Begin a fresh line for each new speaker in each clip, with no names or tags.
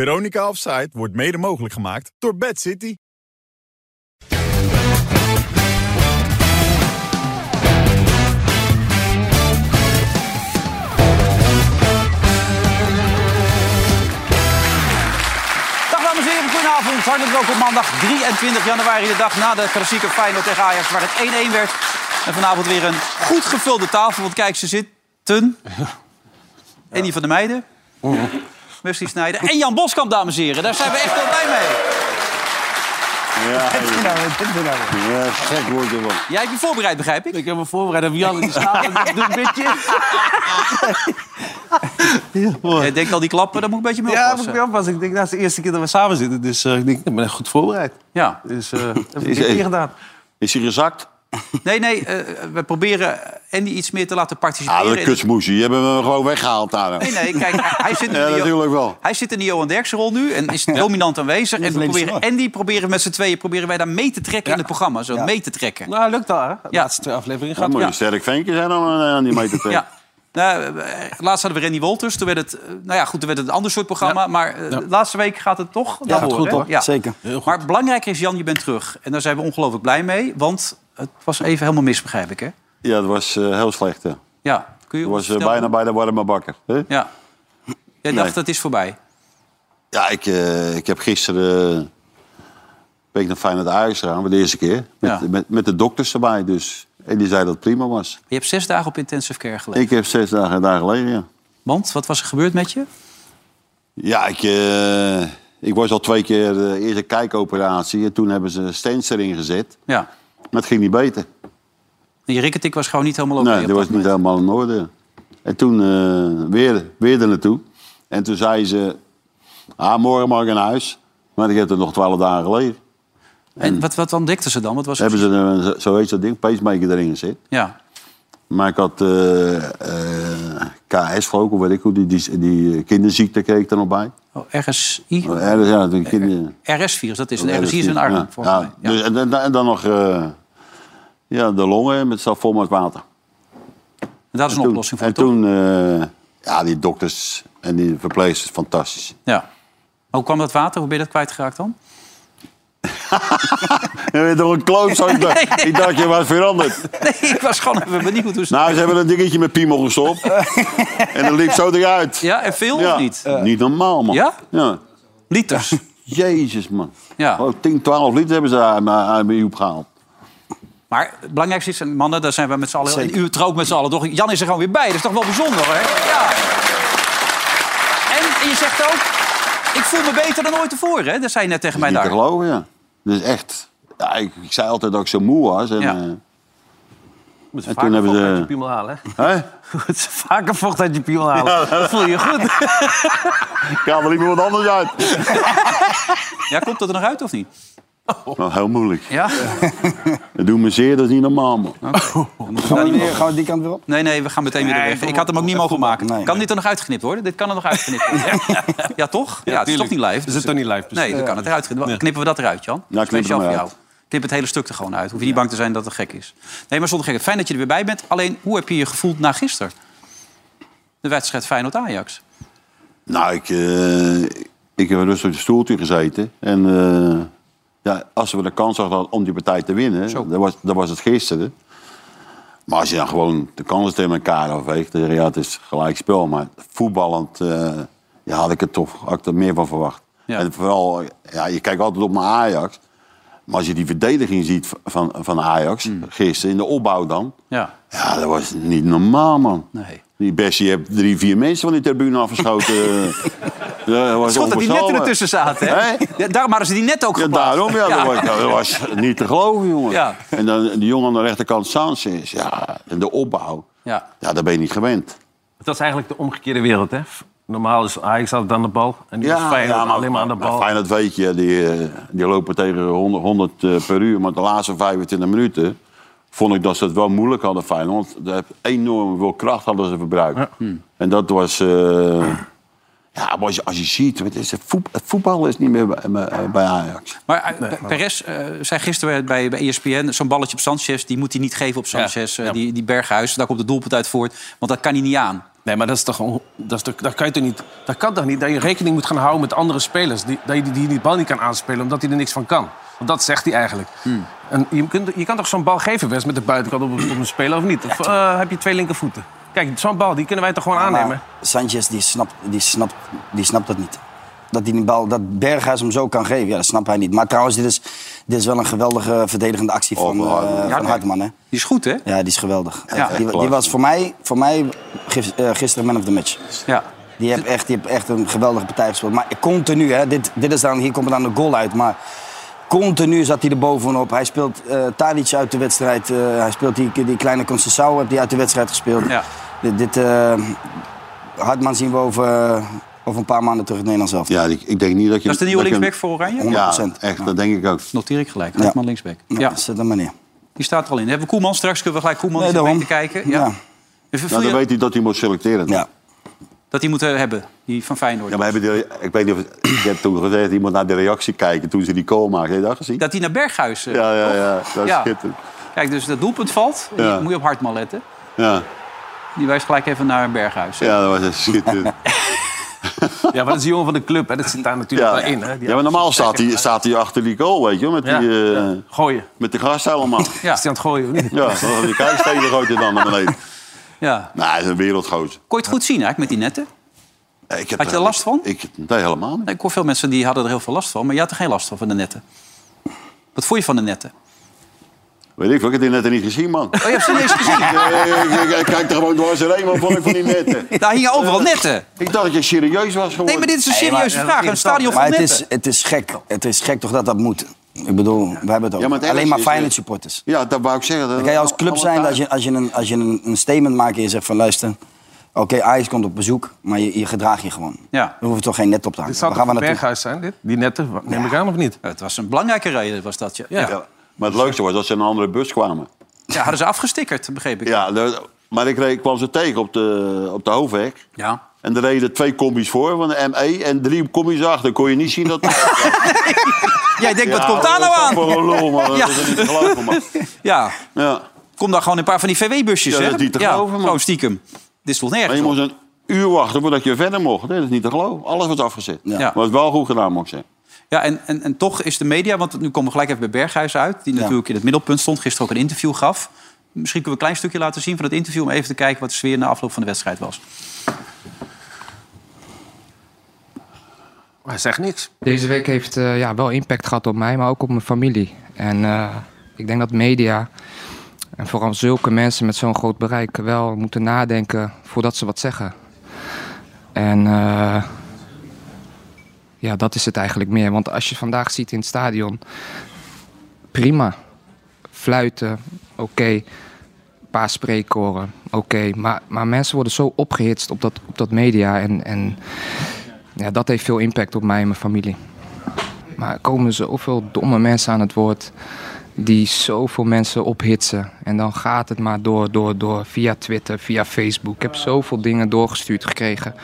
Veronica Offside wordt mede mogelijk gemaakt door Bad City.
Dag dames en heren, goedenavond. Hartelijk welkom op maandag 23 januari, de dag na de klassieke Feyenoord tegen Ajax, waar het 1-1 werd. En vanavond weer een goed gevulde tafel, want kijk, ze zitten... Andy van der Meijden,
Mm.
Wesley Snijder en Jan Boskamp, dames en heren. Daar zijn we echt heel blij mee.
Ja, ja, gek wordt er wel.
Jij hebt je voorbereid, begrijp ik?
Ik heb me voorbereid op Jan in de schaal. Dat doet een beetje.
Jij denkt al die klappen, daar moet ik een beetje mee
Ja, moet
oppassen.
ik was. Ik denk, dat is de eerste keer dat we samen zitten. Dus eh, ik denk, ik ben echt goed voorbereid.
Ja.
Dus eh dat heb ik dit keer gedaan.
Is hij gezakt?
Nee, nee, eh, we proberen Andy iets meer te laten participeren.
Ah, dat
in-
kutsmoesje. Je hebt hem gewoon weggehaald daar.
Nee, nee, kijk, hij- hij zit nu
Ja,
in die-
natuurlijk wel.
Hij zit in die Johan Derksen rol nu en is dominant aanwezig. En we proberen, Andy proberen met z'n tweeën proberen wij daar mee te trekken in het programma. Zo mee te trekken.
Nou, lukt al, hè? De
Ja.
laatste aflevering
Dan
gaat
moet je
ja.
een sterk ventje zijn om eh, aan die meter te
Ja. Nou, eh, laatst hadden we Randy Wolters. Toen werd het, eh, nou ja, goed, toen werd het een ander soort programma. Maar eh, de laatste week gaat het toch naar
gaat
voren,
goed,
hè?
hoor. Zeker. Heel goed.
Maar belangrijker is, Jan, je bent terug. En daar zijn we ongelooflijk blij mee. Want het was even helemaal mis, begrijp ik, hè?
Ja, dat was eh, heel slecht. hè.
Ja. Kun je
Dat was eh,
snel-
bijna bij de warme bakker. hè?
Ja. Jij dacht,
Nee.
dat is voorbij.
Ja, ik, eh, ik heb gisteren... eh, ben ik naar Feyenoord Ajax gegaan, voor de eerste keer. Met,
Ja.
met, met de dokters erbij dus. En die zei dat het prima was.
Je hebt zes dagen op intensive care gelegen.
Ik heb zes dagen daar gelegen, ja.
Want, wat was er gebeurd met je?
Ja, ik, eh, ik was al twee keer... eh, eerst een kijkoperatie en toen hebben ze stents erin gezet.
Ja.
Maar het ging niet beter.
Je rikketik was gewoon niet helemaal oké.
Nee,
op
dat was niet helemaal in orde. En toen eh, weer, weer er naartoe. En toen zei ze... Ah, morgen mag ik naar huis. Maar ik heb er nog twaalf dagen geleden.
En wat, wat ontdekten ze dan? Wat was het?
Hebben ze een, zo- zo heet dat ding, pacemaker erin gezet.
Ja.
Maar ik had eh, eh, KS geloof ik, of weet ik hoe. Die, die, die kinderziekte kreeg ik er nog bij.
Oh, RSI?
Ja, dus ja, de kinder...
RS-virus, dat is Dus
Oh,
een RSI is een arm,
Ja,
volgens
ja.
mij. Ja.
Dus, en, en- en dan nog eh, ja, de longen met zat vol met water.
En daar is een
Toen-
oplossing voor,
En
toch?
toen, eh, ja, die dokters en die verpleegsters, fantastisch.
Ja. Maar hoe kwam dat water? Hoe ben je dat kwijtgeraakt dan?
Je bent toch een klootzak? Ik dacht- Ik dacht, je was veranderd.
Nee, ik was gewoon even benieuwd hoe ze...
Nou, ze hebben een dingetje met piemel gestopt. en dat liep zo eruit.
Ja, en veel of niet?
Niet normaal, man.
Ja? Liters.
Jezus, man.
Ja.
Oh, 10, 12 liter hebben ze aan mijn- aan mijn joep gehaald.
Maar het belangrijkste is, en mannen, daar zijn we met z'n allen... En u het er ook met z'n allen, toch? Jan is er gewoon weer bij. Dat is toch wel bijzonder, hè? Ja. En je zegt ook... Ik voel me beter dan ooit tevoren, hè? Dat zei je net tegen mij
Niet te
daar.
geloven, ja. Dus echt. Ja, ik, ik zei altijd dat ik zo moe was. En,
Ja.
eh,
Moet ze
En
vaker
toen hebben
vocht
ze-
uit je piemel halen, hè?
hè?
Moet ze vaker vocht uit je piemel halen. Dat voel je goed.
Ik haal er liever wat anders uit.
Ja, komt dat er nog uit of niet?
Nou, heel moeilijk.
Ja?
Dat doet me zeer, dat is niet normaal, man.
Gaan we, weer, gaan we die kant weer op?
Nee, nee, we gaan meteen weer weg. Ik had hem ook niet mogen maken.
Nee.
kan dit er nog uitgeknipt worden? Dit kan er nog uitgeknipt worden. ja, toch? Ja, het is toch niet live.
Is het toch niet live?
Nee, dan kan het eruit. Knippen we dat eruit, Jan?
knip het
Speciaal
maar
voor
uit.
jou. Knip het hele stuk er gewoon uit. Hoef je niet bang te zijn dat het gek is. Nee, maar zonder gek. Fijn dat je er weer bij bent. Alleen, hoe heb je je gevoeld na gisteren? De wedstrijd Feyenoord-Ajax.
Nou, ik, eh, ik heb rustig op het stoeltje gezeten. En eh, ja, als we de kans hadden om die partij te winnen,
Zo.
dat was, dat was het gisteren. Maar als je dan gewoon de kansen tegen elkaar afweegt, dan zeg je, ja, het is gelijk spel. Maar voetballend eh, ja, had ik er toch had ik er meer van verwacht.
Ja.
En vooral, ja, je kijkt altijd op naar Ajax. Maar als je die verdediging ziet van, van Ajax, gisteren, in de opbouw dan.
Mm. Ja.
Ja, dat was niet normaal, man.
Nee.
Die Bessie heeft drie, vier mensen van die tribune afgeschoten. ja, dat was
Schot dat die netten
onvoorstelbaar.
ertussen zaten, hè?
Hè?
Ja, daarom hadden ze die net ook
Ja,
geplaatst.
daarom, ja. Dat, was, dat was niet te geloven, jongen.
Ja.
En dan die jongen aan de rechterkant, Sanchez. Ja, en de opbouw.
Ja.
Ja, daar ben je niet gewend.
Dat is eigenlijk de omgekeerde wereld, hè? Normaal is Ajax altijd aan de bal. En nu is Feyenoord alleen maar aan de bal.
Fijn dat weet je, die, eh, die lopen tegen 100, 100 eh, per uur. Maar de laatste 25 minuten vond ik dat ze het wel moeilijk hadden, Feyenoord. Want er- enorm veel kracht hadden ze verbruikt.
Hmm.
En dat was... eh, ja, maar als je, als je ziet, het, is, voet- het voetbal is niet meer bij, eh, bij- bij Ajax.
Maar eh, Pe- Perez eh, zei gisteren bij, bij E ESPN... zo'n balletje op Sanchez, die moet hij niet geven op Sanchez. eh, die, die Berghuis, daar komt het doelpunt uit voort. Want dat kan hij niet aan.
Nee, maar dat, is toch, on- dat, is toch, dat kan je toch niet... Dat kan toch niet dat je rekening moet gaan houden met andere spelers. Die, dat je die, die die bal niet kan aanspelen, omdat hij er niks van kan. Want dat zegt hij eigenlijk.
Hmm.
En je, kunt, je kan toch zo'n bal geven, West, met de buitenkant op, op een speler of niet? Of eh, heb je twee linkervoeten? Kijk, zo'n bal, die kunnen wij toch gewoon aannemen?
Maar Sanchez die snapt, die, snapt, die snapt dat niet. Dat hij die bal, dat Berghuis hem zo kan geven, ja, dat snapt hij niet. Maar trouwens, dit is, dit is wel een geweldige verdedigende actie van,
van
eh,
Hartman.
van Hartman. Hè?
Die is goed, hè?
Ja, die is geweldig.
Ja,
die, die was voor mij, voor mij gis- eh, gisteren man of the match.
Ja.
Die heeft echt, die heeft echt een geweldige partij gespeeld. Maar continu, hè, dit, dit is dan, hier komt dan een goal uit. Maar continu zat hij er bovenop. Hij speelt eh Tadic uit de wedstrijd. eh, hij speelt die, die kleine Concessao heeft die uit de wedstrijd gespeeld.
Ja.
Dit, dit, eh, Hartman zien we over, eh, over een paar maanden terug in het Nederlands zelf.
Ja, ik, ik denk niet dat je...
Dat is de nieuwe
dat je-
linksback voor Oranje?
100%.
Ja, echt, dat denk ik ook.
Noteer ik gelijk. Hartman linksback. Ja,
Zet hem maar neer.
die staat er al in. Dan hebben we Koeman. Straks kunnen we gelijk Koeman eens mee
daarom.
te kijken. Ja.
Ja.
Dus voel je
Ja, Nou, dan weet hij dat hij moet selecteren.
Ja.
Dat die moeten hebben, die van Feyenoord.
Ja, maar hebben de, ik weet niet of... Je hebt toen gezegd, iemand naar de reactie kijken toen ze die goal maakten. Heb je dat gezien?
Dat die naar Berghuis... eh,
Ja, ja, ja. Dat is
Ja.
schitterend.
Kijk, dus dat doelpunt valt.
Ja.
Die Moet je op Hartman letten.
Ja,
Die wijst gelijk even naar Berghuis.
ja dat was echt schitterend.
Ja, maar dat is de jongen van de club, hè? Dat zit daar natuurlijk
Ja,
wel in, hè? Die
ja maar normaal staat hij, staat hij achter die goal, weet je wel. Met,
Ja,
die, eh,
Gooien.
met de gast allemaal.
Ja.
Is hij aan het gooien of niet?
ja, dan die kijksteen gooit hij dan naar beneden.
Ja.
Nou, hij is een wereldgozer.
Kon je het goed zien eigenlijk met die netten?
Ik heb
Had je er last van?
Ik, nee, helemaal niet.
Nee, ik hoor veel mensen die hadden er heel veel last van. Maar je had er geen last van, van de netten. Wat vond je van de netten?
Weet ik, veel, ik heb die net niet gezien, man.
Oh, je hebt ze niet eens gezien.
Eh, ik, ik- ik kijk er gewoon dwars doorheen, maar vond ik van die netten.
Daar hingen overal netten.
Ik dacht dat je serieus was geworden.
Nee, maar dit is een
Nee, maar-
serieuze vraag. Een stadion van
Maar het
netten.
is, het is gek. Het is gek toch dat dat moet. Ik bedoel, wij hebben het
Ja, maar
over.
het
Alleen maar
ergste is- eh,
Feyenoord supporters.
Ja, dat wou ik zeggen. Dat
Dan kan je als
Eh,
club zijn dat je, als je, een, als je een, een statement maakt en je zegt van luister, oké, Ajax komt op bezoek, maar je, je gedraagt je gewoon.
Ja.
We hoeven toch geen net op te
Dit
hangen.
zou
Waar gaan
toch
we
een
naartoe?
berghuis zijn, dit? Die netten, wat- neem ik aan of niet?
Ja, Het was een belangrijke reden, was dat. Ja. Ja.
Ja, Maar het leukste was dat ze in een andere bus kwamen.
Ja, hadden ze afgestickerd, begreep ik.
Ja, de- maar ik, reed- ik kwam ze tegen op de, op de hoofdweg.
Ja.
En er reden twee combi's voor van de ME en drie combi's achter. Kon je niet zien dat...
Jij denkt,
Ja,
wat komt daar nou
is
aan?
toch Voor een lul, man. Dat
Ja.
is niet te geloven, man.
Ja,
Ja.
kom dan gewoon een paar van die VW-busjes,
Ja,
hè?
dat is niet te geloven, man.
Gewoon stiekem. Dit is toch
Maar
nergens
je
op?
moest een uur wachten voordat je verder mocht. Nee, dat is niet te geloven. Alles wordt afgezet.
Ja.
Maar het is wel goed gedaan, moet ik zeggen.
Ja, en, en, en toch is de media, want nu komen we gelijk even bij Berghuis uit... die natuurlijk in het middelpunt stond, gisteren ook een interview gaf. Misschien kunnen we een klein stukje laten zien van dat interview... om even te kijken wat de sfeer na afloop van de wedstrijd was.
Hij zegt niks.
Deze week heeft eh, ja, wel impact gehad op mij, maar ook op mijn familie. En eh, ik denk dat media en vooral zulke mensen met zo'n groot bereik wel moeten nadenken voordat ze wat zeggen. En eh, ja, dat is het eigenlijk meer. Want als je vandaag ziet in het stadion, prima. Fluiten, oké. Een paar spreekkoren, oké. Maar, maar mensen worden zo opgehitst op dat, op dat media en... en ja, dat heeft veel impact op mij en mijn familie. Maar er komen zoveel domme mensen aan het woord die zoveel mensen ophitsen. En dan gaat het maar door, door, door. Via Twitter, via Facebook. Ik heb zoveel dingen doorgestuurd gekregen.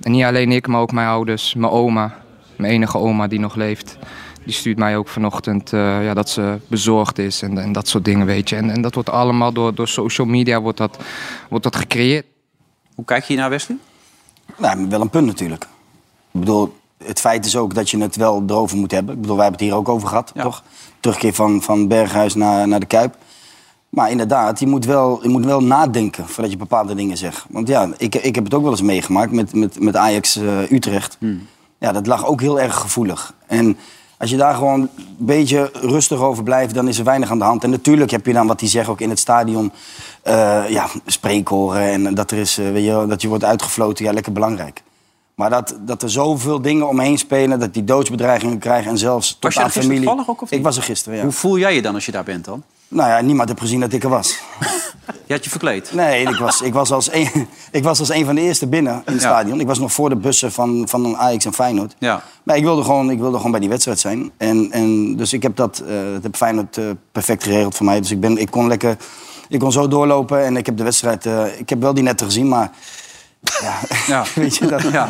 En niet alleen ik, maar ook mijn ouders, mijn oma. Mijn enige oma die nog leeft. Die stuurt mij ook vanochtend eh, ja, dat ze bezorgd is en, en dat soort dingen, weet je. En, en dat wordt allemaal door, door social media wordt dat, wordt dat gecreëerd.
Hoe kijk je hier naar, Wesley?
Nou, maar wel een punt natuurlijk. Ik bedoel, het feit is ook dat je het wel erover moet hebben. Ik bedoel, wij hebben het hier ook over gehad,
Ja.
toch? Terugkeer van, van Berghuis naar, naar de Kuip. Maar inderdaad, je moet, wel, je moet wel nadenken voordat je bepaalde dingen zegt. Want ja, ik, ik heb het ook wel eens meegemaakt met, met, met Ajax eh, Utrecht.
Hmm.
Ja, dat lag ook heel erg gevoelig. En als je daar gewoon een beetje rustig over blijft, dan is er weinig aan de hand. En natuurlijk heb je dan wat die zeggen ook in het stadion. eh, ja, spreekhoren en dat, er is, eh, weet je, wel, dat je wordt uitgefloten. Ja, lekker belangrijk. Maar dat, dat er zoveel dingen omheen spelen, dat die doodsbedreigingen krijgen en zelfs tot
Was je er
aan
gisteren
familie.
toevallig ook, of niet?
Ik was er gisteren, ja.
Hoe voel jij je dan als je daar bent dan?
Nou ja, niemand heeft gezien dat ik er was.
Je had je verkleed.
Nee, ik was, ik, was als een, ik was als een van de eerste binnen in het
Ja.
stadion. Ik was nog voor de bussen van, van Ajax en Feyenoord.
Ja.
Maar ik wilde, gewoon, ik wilde gewoon bij die wedstrijd zijn. En, en, dus ik heb dat, eh dat heb Feyenoord eh, perfect geregeld voor mij. Dus ik, ben, ik kon lekker... Ik kon zo doorlopen en ik heb de wedstrijd... eh, ik heb wel die netten gezien, maar... Ja,
Ja.
weet je dat...
Ja.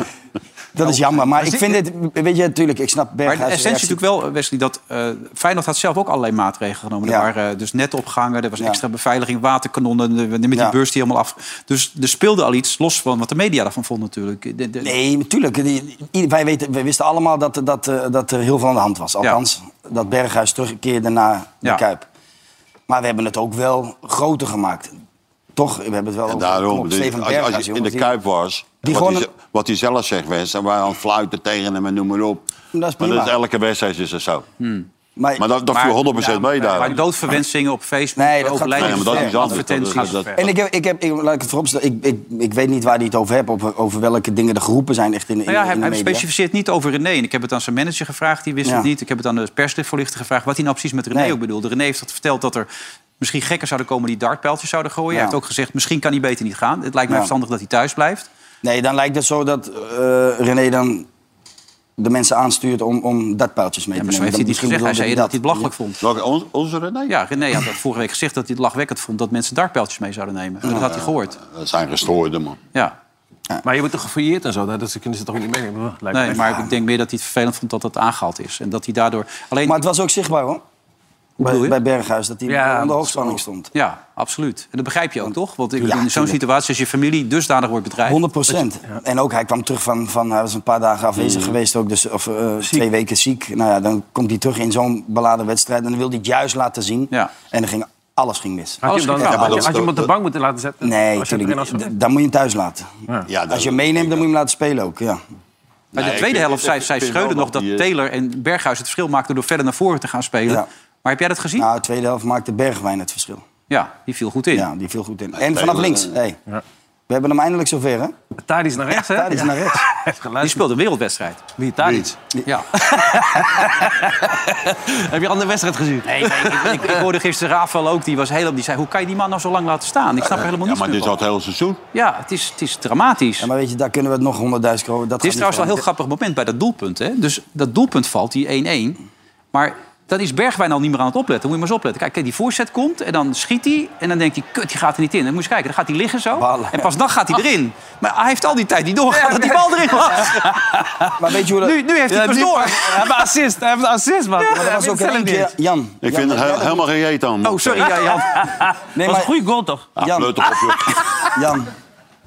Dat is jammer. Maar ik vind dit... Weet je, natuurlijk, ik snap
Maar de
Berghuis...
essentie is natuurlijk wel, Wesley, dat eh Feyenoord had zelf ook allerlei maatregelen genomen.
Ja.
Er waren eh, dus netopgangen, er was
Ja.
extra beveiliging, waterkanonnen, de- met die
Ja.
beurs die helemaal af. Dus er speelde al iets, los van wat de media daarvan vond natuurlijk. De- de-
Nee, natuurlijk. Die- i- Wij, weten, wij wisten allemaal dat, dat, eh, dat er heel veel aan de hand was. Althans, dat Berghuis terugkeerde naar
Ja.
de Kuip. Maar we hebben het ook wel groter gemaakt. Toch? We hebben het wel
En
over
daarom,
knop
dus
Oh, Steven
als, je- als
Berghuis.
je in
jongens,
de
die-
Kuip was,
die
wat,
gewoon
hij, ze- wat hij zelf zegt, Wes, en wij aan het fluiten tegen hem en noem maar op.
Dat is
maar
prima.
dat is elke wedstrijd is dat zo.
Maar,
Maar dat, dat viel 100% mee daar.
Maar doodverwensingen op Facebook,
Nee, dat gaat-
overlijden,
Nee,
maar dat is iets anders.
advertenties.
Dat is- dat-
en ik heb, ik heb, ik, laat ik het vooropstellen, ik, ik, ik weet niet waar hij het over hebt, over, over welke dingen er geroepen zijn echt in, in,
Nou ja, hij,
in de
hij
media.
specificeert niet over René. En ik heb het aan zijn manager gevraagd, die wist
Ja.
het niet. Ik heb het aan de persvoorlichter gevraagd, wat hij nou precies met René
Nee.
ook bedoelde. René heeft dat verteld dat er misschien gekken zouden komen die dartpijltjes zouden gooien.
Ja.
Hij heeft ook gezegd, misschien kan hij beter niet gaan. Het lijkt mij
Ja.
verstandig dat hij thuis blijft.
Nee, dan lijkt het zo dat eh, René dan de mensen aanstuurt om, om dat pijltjes mee
Ja,
te
maar zo heeft
nemen.
hij
Dan
het niet gezegd.
misschien
Hij zei dat hij het
bedoelde
belachelijk vond.
Welke, ons- onze René?
Ja, René had dat vorige week gezegd dat hij het lachwekkend vond... dat mensen dartpijltjes mee zouden nemen. Dat had hij gehoord.
Dat Eh, zijn gestoorde, man.
Ja.
Maar je wordt toch gefouilleerd en zo? Dat dat kunnen ze toch ook niet meenemen? Lijkt me.
Nee, maar ik denk meer dat hij het vervelend vond dat dat aangehaald is. En dat hij daardoor... Alleen,
Maar het was ook zichtbaar hoor. Bij,
bedoel je?
bij Berghuis, dat hij
Ja,
onder
dat
hoogspanning stond. 100%.
ja, absoluut. En dat begrijp je ook, toch? Want ik-
Ja,
in zo'n
tuurlijk.
situatie, als je familie dusdanig wordt bedreigd...
En ook hij kwam terug van, van, hij was een paar dagen afwezig geweest ook, dus, of eh, twee weken ziek. Nou ja, dan komt hij terug in zo'n beladen wedstrijd en dan wil hij het juist laten zien.
Ja.
En dan ging, alles ging mis.
Had je hem dan,
Ja, maar
had je-
dat-
had je hem op de bank moeten laten zetten?
Nee,
Als je
natuurlijk
erin
niet.
had-
D- Dan moet je hem thuis laten.
Ja, dat-
Als je hem meeneemt, dan moet je hem laten spelen ook. Ja.
Maar de
Nee,
tweede
ik-
helft
ik-
zei,
ik
zei
vind
Schreuder
wel
nog dat
dat die, eh,
Taylor en Berghuis het verschil maakten... door verder naar voren te gaan spelen.
Ja.
Maar heb jij dat gezien?
Nou, de tweede helft maakte Bergwijn het verschil.
Ja, die viel goed in.
Ja, die viel goed in. En vanaf
Taylor,
links.
eh,
Hey. We hebben hem eindelijk zover, hè?
Tadic naar rechts, hè?
Daar is naar rechts.
Hij heeft
Die
geluisterd.
speelde een wereldwedstrijd.
Wie, Tadic?
Ja.
Heb je een andere wedstrijd gezien?
Nee, nee, ik, ik, ik hoorde gisteren Rafael ook, die was helemaal... Die zei, hoe kan je die man nou zo lang laten staan? Ik snap er helemaal
Ja,
niets
maar
meer
dit is al
van.
het hele seizoen.
Ja, het is, het is dramatisch.
Ja, maar weet je, daar kunnen we het nog 100.000 euro. Dat
Het is trouwens wel een heel grappig moment bij dat doelpunt. Hè? Dus dat doelpunt valt, die 1-1. Maar dat is Bergwijn al niet meer aan het opletten. Moet je maar eens opletten. Kijk, kijk, die voorzet komt en dan schiet hij. En dan denkt hij, kut, die gaat er niet in. Dan moet je eens kijken, dan gaat hij liggen zo.
Ballen. Ah.
En pas dan gaat hij erin. Maar hij heeft al die tijd niet doorgehad dat die bal erin was.
Maar weet je hoe dat...
Nu, nu heeft hij het pas door.
Hij heeft een assist. Hij heeft een assist, man.
Maar dat was ook in één keer... Jan.
Ik
Jan,
vind het
jij
he-
dat-
helemaal geen jeet aan.
Oh, sorry, ja, Jan.
Nee,
was een
maar
goede goal, toch?
Ah,
Jan.
fleut toch op, joh.
Jan,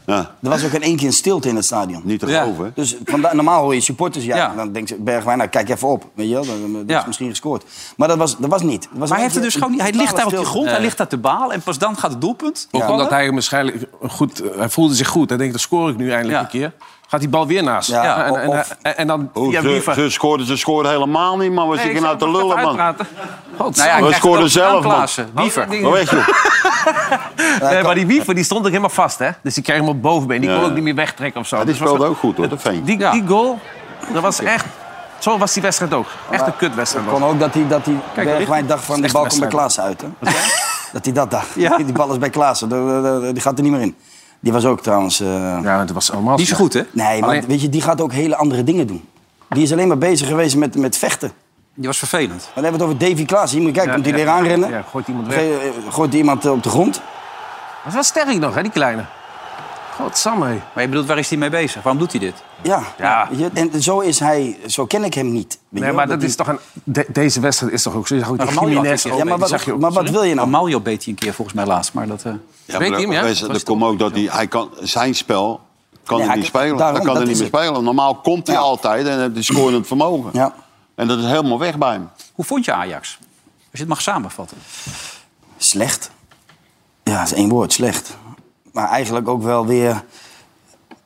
Ja,
er was ook in één keer een stilte in het stadion.
niet te geloven, hè?
Dus vanda- normaal hoor je supporters, ja,
Ja.
dan denkt ze, Bergwijn, nou, kijk even op. Weet je wel, dan- dan is
Ja.
misschien gescoord. Maar dat was, dat was niet. Dat
Maar
was in
hij, heeft het
één
dus
keer
gewoon, niet- hij
een
ligt daar op de
totale
grond, hij ligt daar te balen. En pas dan gaat het doelpunt.
Ook
vallen.
omdat hij waarschijnlijk goed... eh, Hij voelde zich goed. Hij denkt, dan scoor ik nu eindelijk
Ja.
een keer. Gaat die bal weer naast.
Ja,
En, en,
of-
en- en dan...
Oh,
ja,
ze,
Wiever.
ze, scoorden, ze scoorden helemaal niet, man. We
Nee,
zitten
ik
nou te
zou
lullen,
even
man.
uitpraten.
Nou
God,
ja,
zo.
hij krijgt
scoorden
het ook
zelf,
gedaan,
man.
Klaassen. Wiever.
Wat weet je?
Nee, eh, maar die Wiever die stond ook helemaal vast, hè? Dus die kreeg hem op bovenbeen. Die
Ja.
kon ook niet meer wegtrekken of zo.
Ja, die
Dus was
speelde ook goed, hoor. Dat vind ik.
Die,
Ja.
die goal, dat was echt... Zo was die wedstrijd ook. Echt een kutwedstrijd.
Het kon ook dat hij, dat hij Bergwijn dacht van
is
de
echt
bal
een
komt bij Klaas uit. Hè? Dat hij dat dacht. Die bal is bij Klaas. Die gaat er niet meer in. Die was ook trouwens... eh,
Ja, dat was allemaal...
Niet zo goed, hè?
Nee, maar
Alleen-
weet je, die gaat ook hele andere dingen doen. Die is alleen maar bezig geweest met, met vechten.
Die was vervelend.
Dan hebben we het over Davy Klaas. Hier moet je kijken,
Ja,
komt hij
ja.
weer aanrennen.
Ja, gooit iemand weg.
Ge- eh, Gooit hij iemand eh, op de grond.
Dat was wel sterk nog, hè, die kleine. Godsamme, hé.
Maar je bedoelt, waar is hij mee bezig? Waarom doet hij dit?
Ja.
Ja.
Weet je, En zo is hij, zo ken ik hem niet. Weet je
Nee,
wel,
maar dat
hij-
is toch een... de- deze wedstrijd is toch ook zo... Je zag ook die
Ramaljo had
Jiménez
een
ook,
Ja, maar
die zag
wat,
je ook.
maar wat wil je nou?
Ramaljo beet hij een keer volgens mij laatst. Maar dat, eh,
Ja,
Weet
maar
je hem, ja? Was
wees- dat
het
komt ook dat hij, hij kan, zijn spel
Nee,
kan hij
hij
niet
kan-
spelen.
daarom,
hij kan
dat
er niet
is
meer
het.
spelen. Normaal komt hij
Ja.
altijd en heeft hij scorend vermogen.
Ja.
En dat is helemaal weg bij hem.
Hoe vond je Ajax? Als je het mag samenvatten.
Slecht. Ja, dat is één woord, slecht. Maar eigenlijk ook wel weer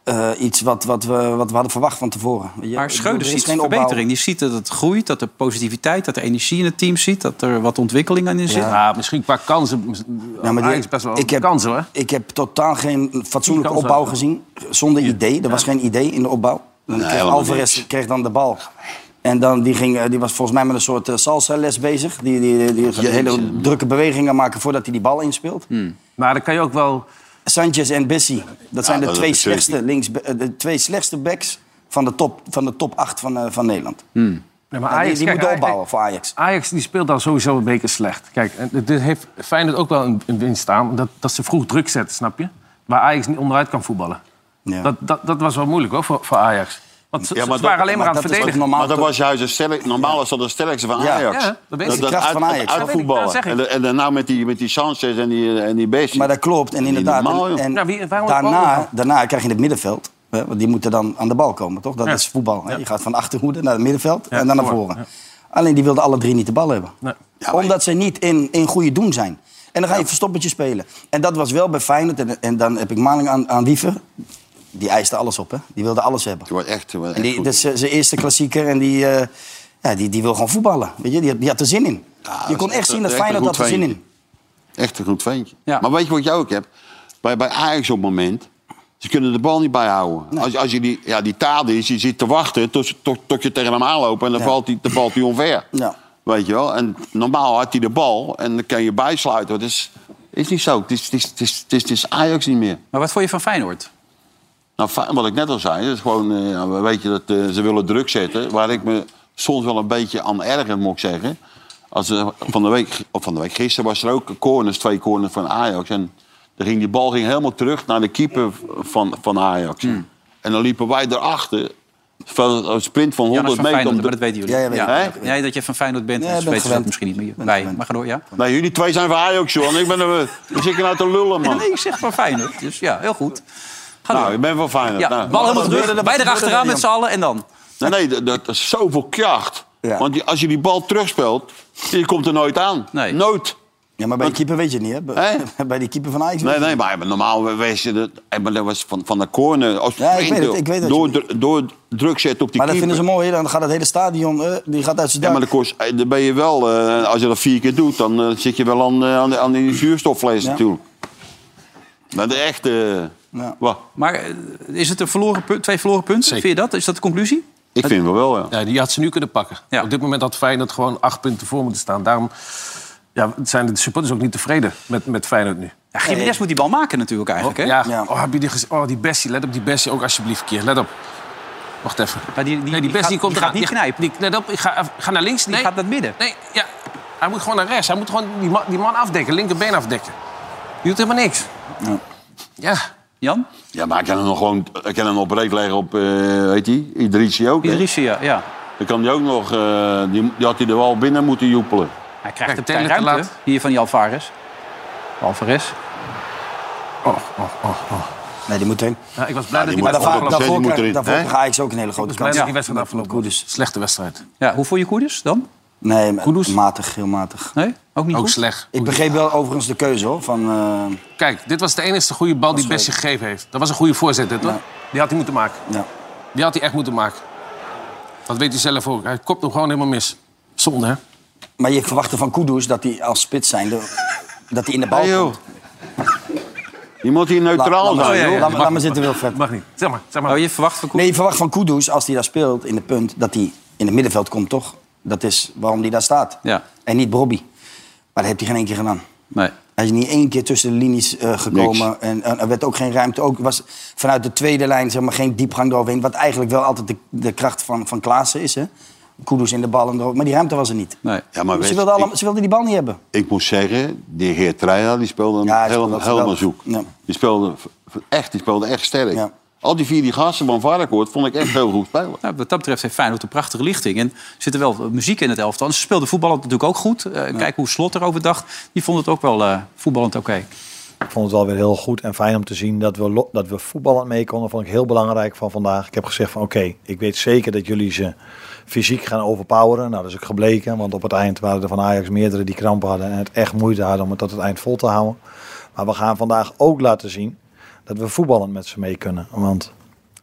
eh, iets wat, wat, we, wat we hadden verwacht van tevoren. Weet je,
Maar
ik
Schreuder
bedoel, er
ziet
is geen opbouw.
verbetering. Die ziet dat het groeit, dat er positiviteit, dat er energie in het team zit, dat er wat ontwikkeling aan in zit.
Ja.
Ja, misschien qua kansen.
Ja,
Ja,
maar
maar
die-
Ajax Ah, best wel ik heb, kansen, hoor.
Ik heb totaal geen fatsoenlijke
Kansen
opbouw
ook.
gezien. Zonder idee. Er was geen idee in de opbouw. Dan kreeg
helemaal
Alvarez
niks.
kreeg dan de bal. En dan, die, ging, eh, die was volgens mij met een soort eh, salsa-les bezig. Die, die, die, die gaat hele drukke bewegingen maken voordat hij die bal inspeelt.
Hmm.
Maar dan kan je ook wel...
Sanchez en Bessie. Dat zijn de
dat
twee,
is natuurlijk-
slechtste links, eh, de twee slechtste backs van de top, van de top 8 van, eh, van Nederland.
Nee, maar
Ja, die die
kijk,
moeten
Ajax-
opbouwen voor Ajax.
Ajax die speelt dan sowieso een beetje slecht. Kijk, en dit heeft Feyenoord ook wel een, een winst aan. Dat, dat ze vroeg druk zetten, snap je? Waar Ajax niet onderuit kan voetballen.
Ja.
Dat, dat, dat was wel moeilijk hoor, voor, voor Ajax. Want ze,
Ja, maar
ze waren
dat-
alleen maar,
maar
aan het
dat is
verdedigen.
wat normaal
maar
toch?
dat was juist een sterk, normaal is dat de sterkste van
Ja.
Ajax.
Ja, dat weet ik.
De kracht
uit,
van Ajax,
uit-
hè?
Dat
uit
weet ik,
voetballen.
dat zeg ik.
en, de- en daarna met die, met die Sanchez en die, eh, en die Bessie.
Maar dat klopt. En
Niet
inderdaad,
normaal,
en-
joh.
en
Nou, wie- waarom het bal?
daarna, daarna krijg je het middenveld. Hè, want die moeten dan aan de bal komen, toch? Dat
Ja.
is voetbal. Hè? Je gaat van achterhoede naar het middenveld en dan naar
voor.
voren. Alleen die wilden alle drie niet de bal hebben.
Nee.
Ja, maar- Omdat ze niet in, in goede doen zijn. En dan ga je verstoppertje spelen. En dat was wel bij Feyenoord. En, en dan heb ik Maling aan, aan Wiever. Die eiste alles op, hè? Die wilde alles hebben.
Het was echt, het was echt
En die,
goed.
dat is eh, zijn eerste klassieker en die, eh, ja, die, die wil gewoon voetballen. Weet je? Die, had- die had er zin in.
Ja,
je kon
dat is
echt zien
een-
dat
echt een
Feyenoord
goed
had er zin
ventje.
in.
Echt een goed ventje.
Ja.
Maar weet je wat je ook hebt? Bij, bij Ajax op het moment... Ze kunnen de bal niet bijhouden. Als, als je die, ja, die tade is, je zit te wachten tot, tot, tot je tegen hem aanloopt... en dan
Ja.
valt hij dan valt hij onver.
Ja.
Weet je wel? En normaal had hij de bal en dan kan je bijsluiten. Dat is, is niet zo. Het is, het, is, het, is, het, is, het is Ajax niet meer.
Maar wat vond je van Feyenoord?
Nou, Fey- wat ik net al zei, dat is gewoon, eh, ja, weet je, dat, eh, ze willen druk zetten. Waar ik me soms wel een beetje aan erger, moet ik zeggen. Als, eh, van, de week, of van de week, gisteren was er ook corners, twee corners van Ajax. En er ging, die bal ging helemaal terug naar de keeper van, van Ajax.
Hmm.
En dan liepen wij erachter, van een sprint van
Jannes
100
van
meter.
Feyenoord,
om
maar
de-
dat weten jullie.
Ja, ja, weet ik.
Hè?
Nee, dat je van Feyenoord bent,
Ja,
dat
ik ben
weten ze dat
gewend.
misschien niet meer.
Ben
Wij,
gewend.
maar ga door, ja.
Nee, jullie twee zijn van Ajax, joh. En ik ben er, wat zit je nou te lullen, man?
Nee, ik zeg van Feyenoord. Dus ja, heel goed. Ga door.
Nou, ik ben van Feyenoord.
ja,
nou.
bal helemaal
wat
terug.
gebeurde er-
Wij
wat
erachteraan
gebeurde er,
met z'n allen en dan.
Nee, nee, dat, dat is zoveel kracht.
Ja.
Want die- als je die bal terugspeelt, je komt er nooit aan.
Nee.
Nooit.
Ja, maar bij die keeper weet je het niet, hè? Bij- Bij die keeper van Ajax.
Nee, nee, maar normaal wees je dat. eh, Maar dat was van, van de corner. Als
Ja, ik
sprint,
weet het,
joh.
ik weet het.
door, dru- door druk zetten op die
Maar dat vinden
keeper.
ze mooi. hè? Dan gaat het hele stadion eh, die gaat uit zijn
ja,
dak.
maar dat kost, eh, dan ben je wel, eh, als je dat vier keer doet, dan eh, zit je wel aan, eh, aan, de- aan die zuurstofvlees
Ja.
natuurlijk. Maar de echte.
Ja.
Wat?
Maar eh, is het een verloren punt, twee verloren punten?
Zeker.
Vind je dat? Is dat de conclusie?
Ik vind wel wel, ja.
Ja, die had ze nu kunnen pakken.
Ja.
Op dit moment had Feyenoord gewoon acht punten voor moeten staan. Daarom ja, zijn de supporters ook niet tevreden met, met Feyenoord nu.
Ja, Jiménez moet die bal maken natuurlijk eigenlijk, hè?
Ja.
Ja.
Oh, heb je die gezien? Oh, die Bessie. Let op die Bessie ook alsjeblieft, keer. Let op. Wacht even.
Maar die- die-
nee,
die
die Bessie
gaat-
komt
die gaat
eraan.
niet knijpen.
Die, let op, ik ga, even- ga naar links. Nee,
Die gaat naar het midden.
nee, ja. Hij moet gewoon naar rechts. Hij moet gewoon die man, die man afdekken, linkerbeen afdekken. Die doet helemaal niks. Ja.
Jan?
Ja, maar ik kan hem nog gewoon ik kan hem nog breed leggen op, eh weet die, Idrissi ook. hè.
Idrissi, ja. ja.
Dan kan hij ook nog, eh, die, die had hij er wel binnen moeten joepelen.
Hij krijgt een
Kijk,
kleine
Taylor te
ruimte hier van die Alvarez. Alvarez.
Nee, die moet erin.
Nou, ik was blij dat
die
die
Maar
moet-
bij de
daarvoor,
daarvoor-
afgelopen...
moet
daarvoor,
erin,
krijg- daarvoor
hè?
krijgt Ajax ook een hele grote
Ik was blij
kans.
dat die wedstrijd
Met- met
afgelopen was.
Kudus.
Slechte wedstrijd.
Ja, hoe vond je Koerders dan?
Nee, maar-
Kudus?
matig, heel matig.
Nee? Ook niet
Ook
goed?
slecht.
Ik begreep wel overigens de keuze hoor, van eh,
Kijk, dit was de enige goede bal die Bessie gegeven heeft. Dat was een goede voorzet, hè, toch? Die had hij moeten maken.
ja.
Die had hij echt moeten maken. Dat weet hij zelf ook. Hij kopt hem gewoon helemaal mis. Zonde, hè?
Maar je verwachtte van Kudus dat hij als spits zijnde dat hij in de bal
Hey, Ah, joh.
komt.
Je moet hier
Laat-
neutraal
laat maar-
zijn,
laat
joh.
maar- Laat maar zitten, Wilfred.
Mag niet. Zeg maar, zeg maar.
Oh, je verwacht van
Nee,
Koerders?
je verwacht van Kudus, als hij daar speelt in de punt, dat hij in het middenveld komt, toch? Dat is waarom hij daar staat.
Ja.
En niet Bobby. Maar dat heeft hij geen één keer gedaan.
Nee.
Hij is niet één keer tussen de linies eh, gekomen. En, en er werd ook geen ruimte. Ook was vanuit de tweede lijn zeg maar, geen diepgang eroverheen. Wat eigenlijk wel altijd de, de kracht van, van Klaassen is. Hè? Kudus in de bal en erover. Maar die ruimte was er niet. Dus
nee.
Ja, maar
ze,
weet-
wilden
ik-
allemaal, ze wilden die bal niet hebben.
Ik moet zeggen, die heer Treija, die speelde hem
Ja, hij speelde
helemaal,
dat
helemaal zoek.
geweldig. Ja.
Die, speelde v- v- echt, die speelde echt sterk.
Ja.
Al die vier die gasten van Varkenoord vond ik echt heel goed spelen.
Nou, wat dat betreft heeft Feyenoord een prachtige lichting. En er zit er wel eh, muziek in het elftal. En Ze speelden voetballend natuurlijk ook goed. Eh, Kijk hoe Slot erover dacht. Die vond het ook wel eh, voetballend oké.
Ik vond het wel weer heel goed en fijn om te zien dat we, lo- dat we voetballend mee konden. Vond ik heel belangrijk van vandaag. Ik heb gezegd van oké, ik weet zeker dat jullie ze fysiek gaan overpoweren. Nou, dat is ook gebleken, want op het eind waren er van Ajax meerdere die kramp hadden en het echt moeite hadden om het tot het eind vol te houden. Maar we gaan vandaag ook laten zien dat we voetballend met ze mee kunnen. Want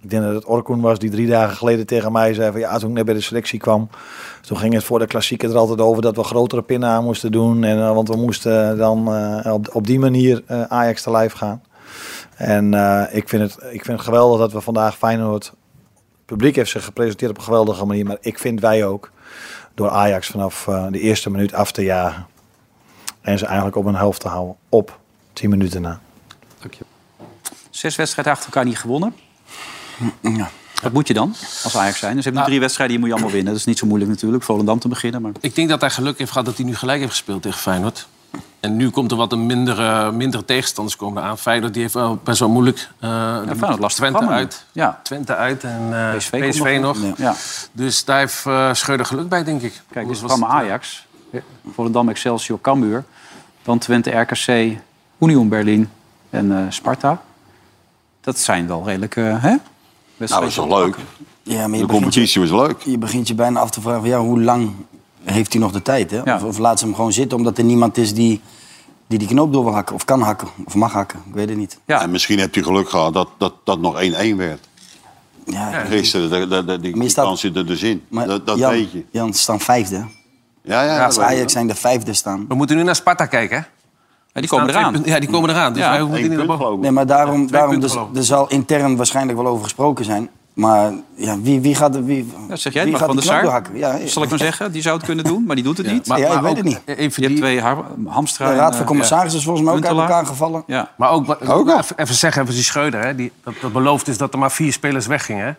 ik denk dat het Orkoen was die drie dagen geleden tegen mij zei van ja, toen ik net bij de selectie kwam, toen ging het voor de klassieker er altijd over dat we grotere pinnen aan moesten doen. En, eh, want we moesten dan eh, op, op die manier eh, Ajax te lijf gaan. En eh, ik, vind het, ik vind het geweldig dat we vandaag Feyenoord, het publiek heeft zich gepresenteerd op een geweldige manier. Maar ik vind wij ook, door Ajax vanaf eh, de eerste minuut af te jagen. En ze eigenlijk op een helft te houden, op 10 minuten na.
Zes wedstrijden achter elkaar niet gewonnen. Wat moet je dan als Ajax zijn? Dus je hebt nu drie wedstrijden die moet je allemaal winnen. Dat is niet zo moeilijk natuurlijk. Volendam te beginnen. Maar...
Ik denk dat hij geluk heeft gehad dat hij nu gelijk heeft gespeeld tegen Feyenoord. En nu komt er wat een mindere, mindere tegenstanders komen aan. Feyenoord die heeft wel best wel moeilijk. eh
Feyenoord lastig
Twente
programma nu.
uit.
Ja.
Twente uit en eh,
PSV
PSV,
komt nog.
nog.
Ja.
Dus daar heeft eh Schreuder geluk bij, denk ik.
Kijk, dit
Anders
is
was
programma
het, eh,
Ajax. Volendam, Excelsior, Cambuur. Dan Twente, RKC, Union Berlin en eh, Sparta. Dat zijn wel redelijk... eh hè?
Nou, dat is toch leuk?
Ja, maar je
De
begint, je,
competitie was leuk.
je begint je bijna af te vragen van ja, hoe lang heeft hij nog de tijd? Hè?
Ja.
Of, of laat ze hem gewoon zitten omdat er niemand is die die, die knoop door wil hakken. Of kan hakken. Of mag hakken. Ik weet het niet.
Ja.
En misschien hebt u geluk gehad dat dat, dat nog 1-1 werd.
Ja, ik-
Gisteren, dat- dat- dat- die,
Maar je
die
staat-
kans zit er dus in.
maar
dat dat
Jan,
weet je.
Jan, ze staan vijfde. hè?
Ja, ja, dat
Als
weet je.
Ajax zijn de vijfde staan.
We moeten nu naar Sparta kijken, hè?
Ja, die komen
Staan twee
eraan.
punten- Ja, die komen eraan. Dus
Ja,
wij hoeven
Eén
niet naar
punt,
boven.
geloof ik.
Nee, maar daarom,
twee
daarom
punten
dus,
geloof ik.
er zal intern waarschijnlijk wel over gesproken zijn. Maar ja, wie, wie gaat, wie,
Ja, zeg jij het maar,
wie gaat
Van der
die knoop
Sar.
doorhakken? Ja,
Zal ik maar zeggen, die zou het kunnen doen, maar die doet het niet.
Ja, ik weet
ook
het niet.
Even
je hebt
die-
twee har- Hamstra
de
en,
raad van
eh,
commissarissen is volgens mij ook uit
Huntelaar.
elkaar gevallen.
Ja.
Maar ook, wat- even, even zeggen, even die Schreuder, hè, die, dat, dat beloofd is dat er maar vier spelers weggingen. hè.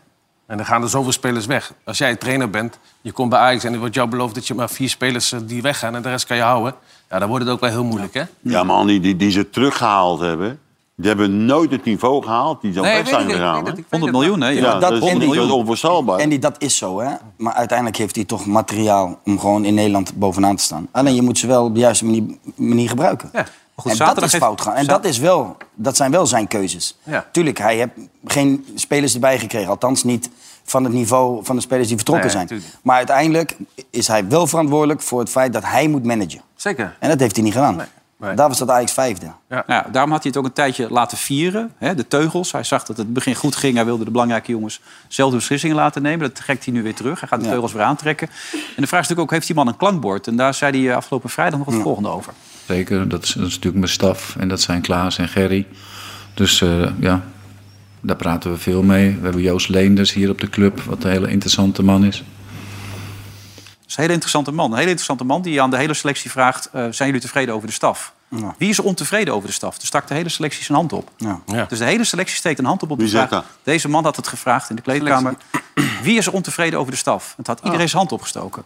En er gaan er zoveel spelers weg. Als jij trainer bent, je komt bij Ajax en er wordt jou beloofd dat je maar vier spelers eh, die weggaan en de rest kan je houden. Ja, dan wordt het ook wel heel moeilijk, hè?
Ja, man, die, die, die ze teruggehaald hebben. Die hebben nooit het niveau gehaald. Die dan
Nee,
weg
weet ik,
zijn
ik
gegaan.
weet het,
hè?
ik 100 miljoen, hè?
Ja,
Ja.
dat
dat, is,
100
dat is
miljoen.
onvoorstelbaar.
En die, dat is zo, hè. Maar uiteindelijk heeft hij toch materiaal om gewoon in Nederland bovenaan te staan. Alleen je moet ze wel op de juiste manier, manier gebruiken.
Ja, maar goed,
en dat
zaterdag
is
heeft-
fout gaan. En dat, is wel, dat zijn wel zijn keuzes.
Ja.
Tuurlijk, hij heeft geen spelers erbij gekregen. Althans niet van het niveau van de spelers die vertrokken
Nee,
zijn.
tuurlijk.
Maar uiteindelijk is hij wel verantwoordelijk voor het feit dat hij moet managen.
Zeker.
En dat heeft hij niet gedaan.
nee.
Daar was dat Ajax vijfde.
Nou ja, daarom had hij het ook een tijdje laten vieren. Hè, de teugels. Hij zag dat het begin goed ging. Hij wilde de belangrijke jongens zelf de beslissingen laten nemen. Dat trekt hij nu weer terug. Hij gaat de
Ja.
teugels weer aantrekken. En de vraag is natuurlijk ook, heeft die man een klankbord? En daar zei hij eh, afgelopen vrijdag nog het volgende over.
Zeker, dat is, dat is natuurlijk mijn staf en dat zijn Klaas en Gerry. Dus eh, ja, daar praten we veel mee. We hebben Joost Leenders hier op de club, wat een hele interessante man is.
Dat is een hele interessante man. Een hele interessante man die aan de hele selectie vraagt... eh, zijn jullie tevreden over de staf?
Ja.
Wie is er ontevreden over de staf? Toen stak de hele selectie zijn hand op.
Ja.
Dus de hele selectie steekt een hand op op de
Wie
vraag.
zegt dat?
Deze man had het gevraagd in de kleedkamer. Wie is er ontevreden over de staf? Het had iedereen zijn hand opgestoken.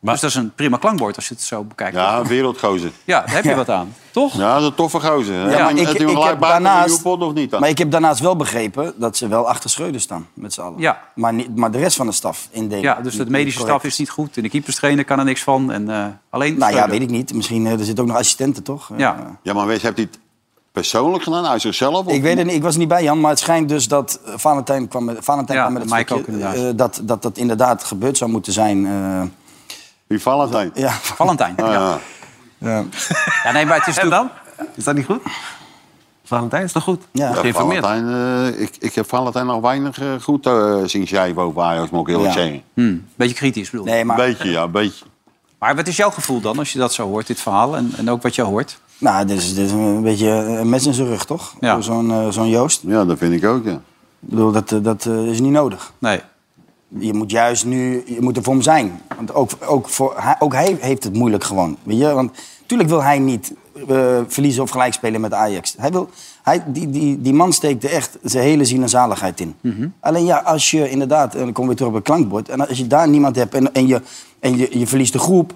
dus dat is een prima klankbord als je het zo bekijkt.
Ja, een wereldgozer.
Ja, daar heb je wat aan. Toch?
Ja, dat is een toffe gozer. Ja,
maar
maar
ik-
heeft hij
ik
hem
heb
gelijk bij
daarnaast-
daarnaast... of niet dan?
Maar ik heb daarnaast wel begrepen dat ze wel achter Schreuder staan, met z'n allen.
Ja.
Maar, niet, maar de rest van de staf indelen.
Ja, dus de
het
medische staf is niet goed. En de keeperstrainer kan er niks van. En, eh, alleen
Nou ja,
Schreuder.
weet ik niet. Misschien, eh, er zitten ook nog assistenten, toch?
Ja.
Eh,
Ja, maar Wes, heeft hij het persoonlijk gedaan uit zichzelf? Of...
ik weet het niet. Ik was niet bij, Jan. Maar het schijnt dus dat eh, Valentijn kwam met, Valentijn
Ja,
kwam met het
Mike
stukje,
ook inderdaad.
eh, dat, dat dat inderdaad gebeurd zou moeten zijn. eh,
Die Valentijn.
ja.
Valentijn.
Ah,
ja.
ja.
ja.
Ja, nee, maar het is
En
natuurlijk...
dan? Is dat niet goed? Valentijn is toch goed?
Ja.
Ja,
Geïnformeerd.
Valentijn, eh, ik, ik heb Valentijn nog weinig eh, goed eh, zien schrijven over Ajax, moet ik eerlijk
Ja.
zeggen.
Hmm, beetje kritisch bedoel ik.
Nee,
Een
maar
beetje, ja, een beetje.
Maar wat is jouw gevoel dan als je dat zo hoort, dit verhaal? En, en ook wat je hoort?
nou, dit, is, dit is een beetje eh, een mes in zijn rug, toch?
Ja.
Voor Zo'n eh, zo'n Joost.
Ja, dat vind ik ook, ja.
Ik bedoel, dat, eh, dat eh, is niet nodig.
Nee.
je moet juist nu, je moet er voor hem zijn. Want ook, ook, voor, hij, ook hij heeft het moeilijk gewoon. Weet je? Want natuurlijk wil hij niet eh, verliezen of gelijk spelen met Ajax. Hij wil, hij, die, die, die man steekt er echt zijn hele zin en zaligheid in. Alleen ja, als je inderdaad, en dan kom ik weer terug op het klankbord... en als je daar niemand hebt en, en, je, en je, je verliest de groep...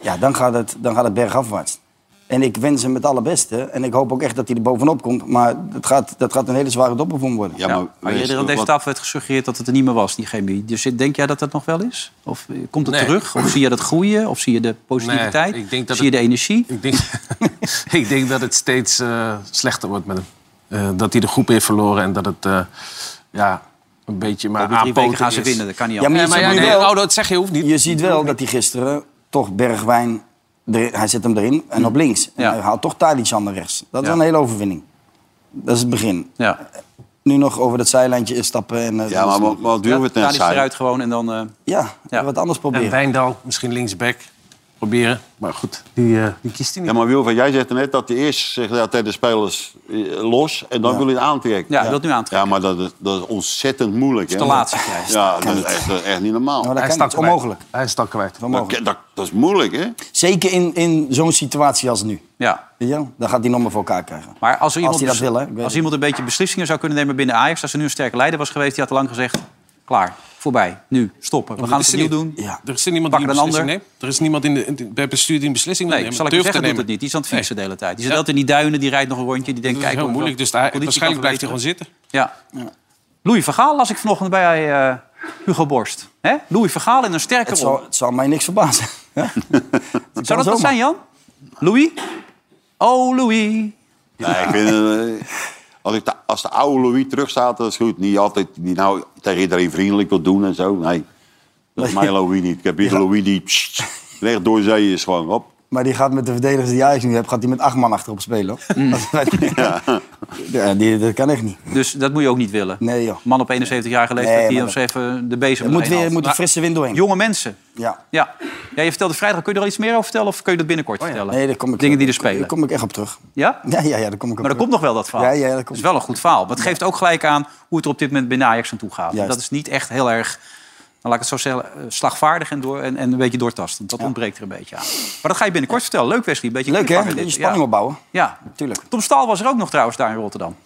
ja, dan gaat het, dan gaat het bergafwaarts. En ik wens hem het allerbeste. En ik hoop ook echt dat hij er bovenop komt. Maar dat gaat, dat gaat een hele zware doppel voor hem worden.
Ja,
Ja,
maar,
maar eerder aan
Wes,
deze
wat-
tafel werd gesuggereerd dat het er niet meer was, die chemie. Dus denk jij dat dat nog wel is? Of eh, komt het
Nee.
terug? Of zie je dat groeien? Of zie je de positiviteit?
Nee, ik denk dat
zie je
het-
de energie? Ah,
Ik denk, ik denk dat het steeds eh, slechter wordt met hem. Eh, dat hij de groep heeft verloren en dat het eh, ja, een beetje maar
Over drie weken
aanpoten
gaan ze
is.
winnen, dat kan niet
Ja,
anders.
Ja,
maar je
maar
ziet
ja,
nu
nee,
wel-
oh, dat zeg je hoeft niet.
Je ziet wel dat hij gisteren toch Bergwijn... erin- hij zet hem erin en op links. En
Mm. Ja.
hij haalt toch Tadic naar rechts. Dat is
Ja.
een hele overwinning. Dat is het begin.
Ja,
Nu nog over dat zijlijntje stappen. En, eh,
Ja, maar wat- wat doen we het
Ja,
net
Tadic
zei?
eruit gewoon en dan... eh,
ja,
Ja.
wat anders
En
proberen.
Wijndal, misschien linksback. Proberen. Maar goed, die, eh, die kiest hij niet.
Ja, maar Wilfred, jij zegt net dat hij eerst zegt ja, tegen de spelers eh, los en dan wil hij het aantrekken.
Ja, hij wil het nu aantrekken.
Ja, maar dat is, dat is ontzettend moeilijk.
is te
hè?
laat, zeg jij.
Ja, dat is echt, dat is echt niet normaal.
Nou, dat
hij
kan
staat
niet. Onmogelijk.
Hij is dan kwijt.
Onmogelijk.
Dat, dat, dat is moeilijk, hè?
Zeker in, in zo'n situatie als nu.
ja.
Weet je wel? Dan gaat hij nog maar voor elkaar krijgen.
Maar als, er
Als
iemand, dus-
hij dat wil, hè? Ik weet
als
het.
iemand een beetje beslissingen zou kunnen nemen binnen Ajax... als er nu een sterke leider was geweest, die had al lang gezegd... Klaar. Voorbij. Nu. Stoppen. We gaan het
is
opnieuw
niet-
doen.
Ja.
Er is niemand
Pak
die een
een
beslissing
ander.
neemt. Er is niemand in de, in de, bij het bestuur die een beslissing wil
Nee,
nemen.
zal ik je
Durft
zeggen,
te
doet het
nemen.
niet. Die is aan het fietsen de hele tijd. Die zit altijd in die duinen, die rijdt nog een rondje. Die denkt,
Dat is
kijk,
heel
hoe
moeilijk. Dus daar-
conditie
waarschijnlijk
kan
blijft hij gewoon zitten.
Ja. Louis Vergaal las ik vanochtend bij eh, Hugo Borst. Hè? Louis Vergaal in een sterke
Het
rol.
zal, het zal mij niks verbazen. Ja?
Zou dat wat zijn, Jan? Louis? Oh, Louis.
Nee, ik vind, eh, als, ik de, als de oude Louis terug staat, dat is goed. Niet altijd die nou tegen iedereen vriendelijk wil doen en zo. Nee, dat is mijn Louis niet. Ik heb hier een Louis die pssst, recht door zee is gewoon op.
Maar die gaat met de verdedigers die Ajax nu hebt, gaat die met acht man achterop spelen. hoor.
Mm.
ja. die, dat kan echt niet.
Dus dat moet je ook niet willen.
Nee, joh.
Man op 71-jarige leeftijd
Nee,
die
maar
ons even de bezem
Er moet
doorheen
weer
haalt.
moet een
Maar
frisse wind doorheen.
Jonge mensen.
Ja.
Ja. ja. Je vertelde vrijdag. Kun je er al iets meer over vertellen? Of kun je dat binnenkort vertellen?
Oh Nee, daar kom ik,
Dingen die er
Daar
spelen.
kom ik echt op terug.
Ja?
Ja, ja, ja daar kom ik op
Maar er
terug.
komt nog wel dat verhaal.
Ja, ja, dat
Dat
komt.
is wel een goed verhaal. Maar het geeft ook gelijk aan hoe het er op dit moment binnen Ajax aan toe gaat.
Juist.
Dat is niet echt heel erg, nou, laat ik het zo zeggen, eh, slagvaardig en, door, en, en een beetje doortastend. Dat ontbreekt er een beetje aan. Maar dat ga je binnenkort vertellen. Leuk, Wesley. Een beetje
Leuk hè?
cliffhanger
Een beetje
dit.
spanning
ja.
opbouwen.
Ja.
Tuurlijk.
Tom Staal was er ook nog trouwens daar in Rotterdam.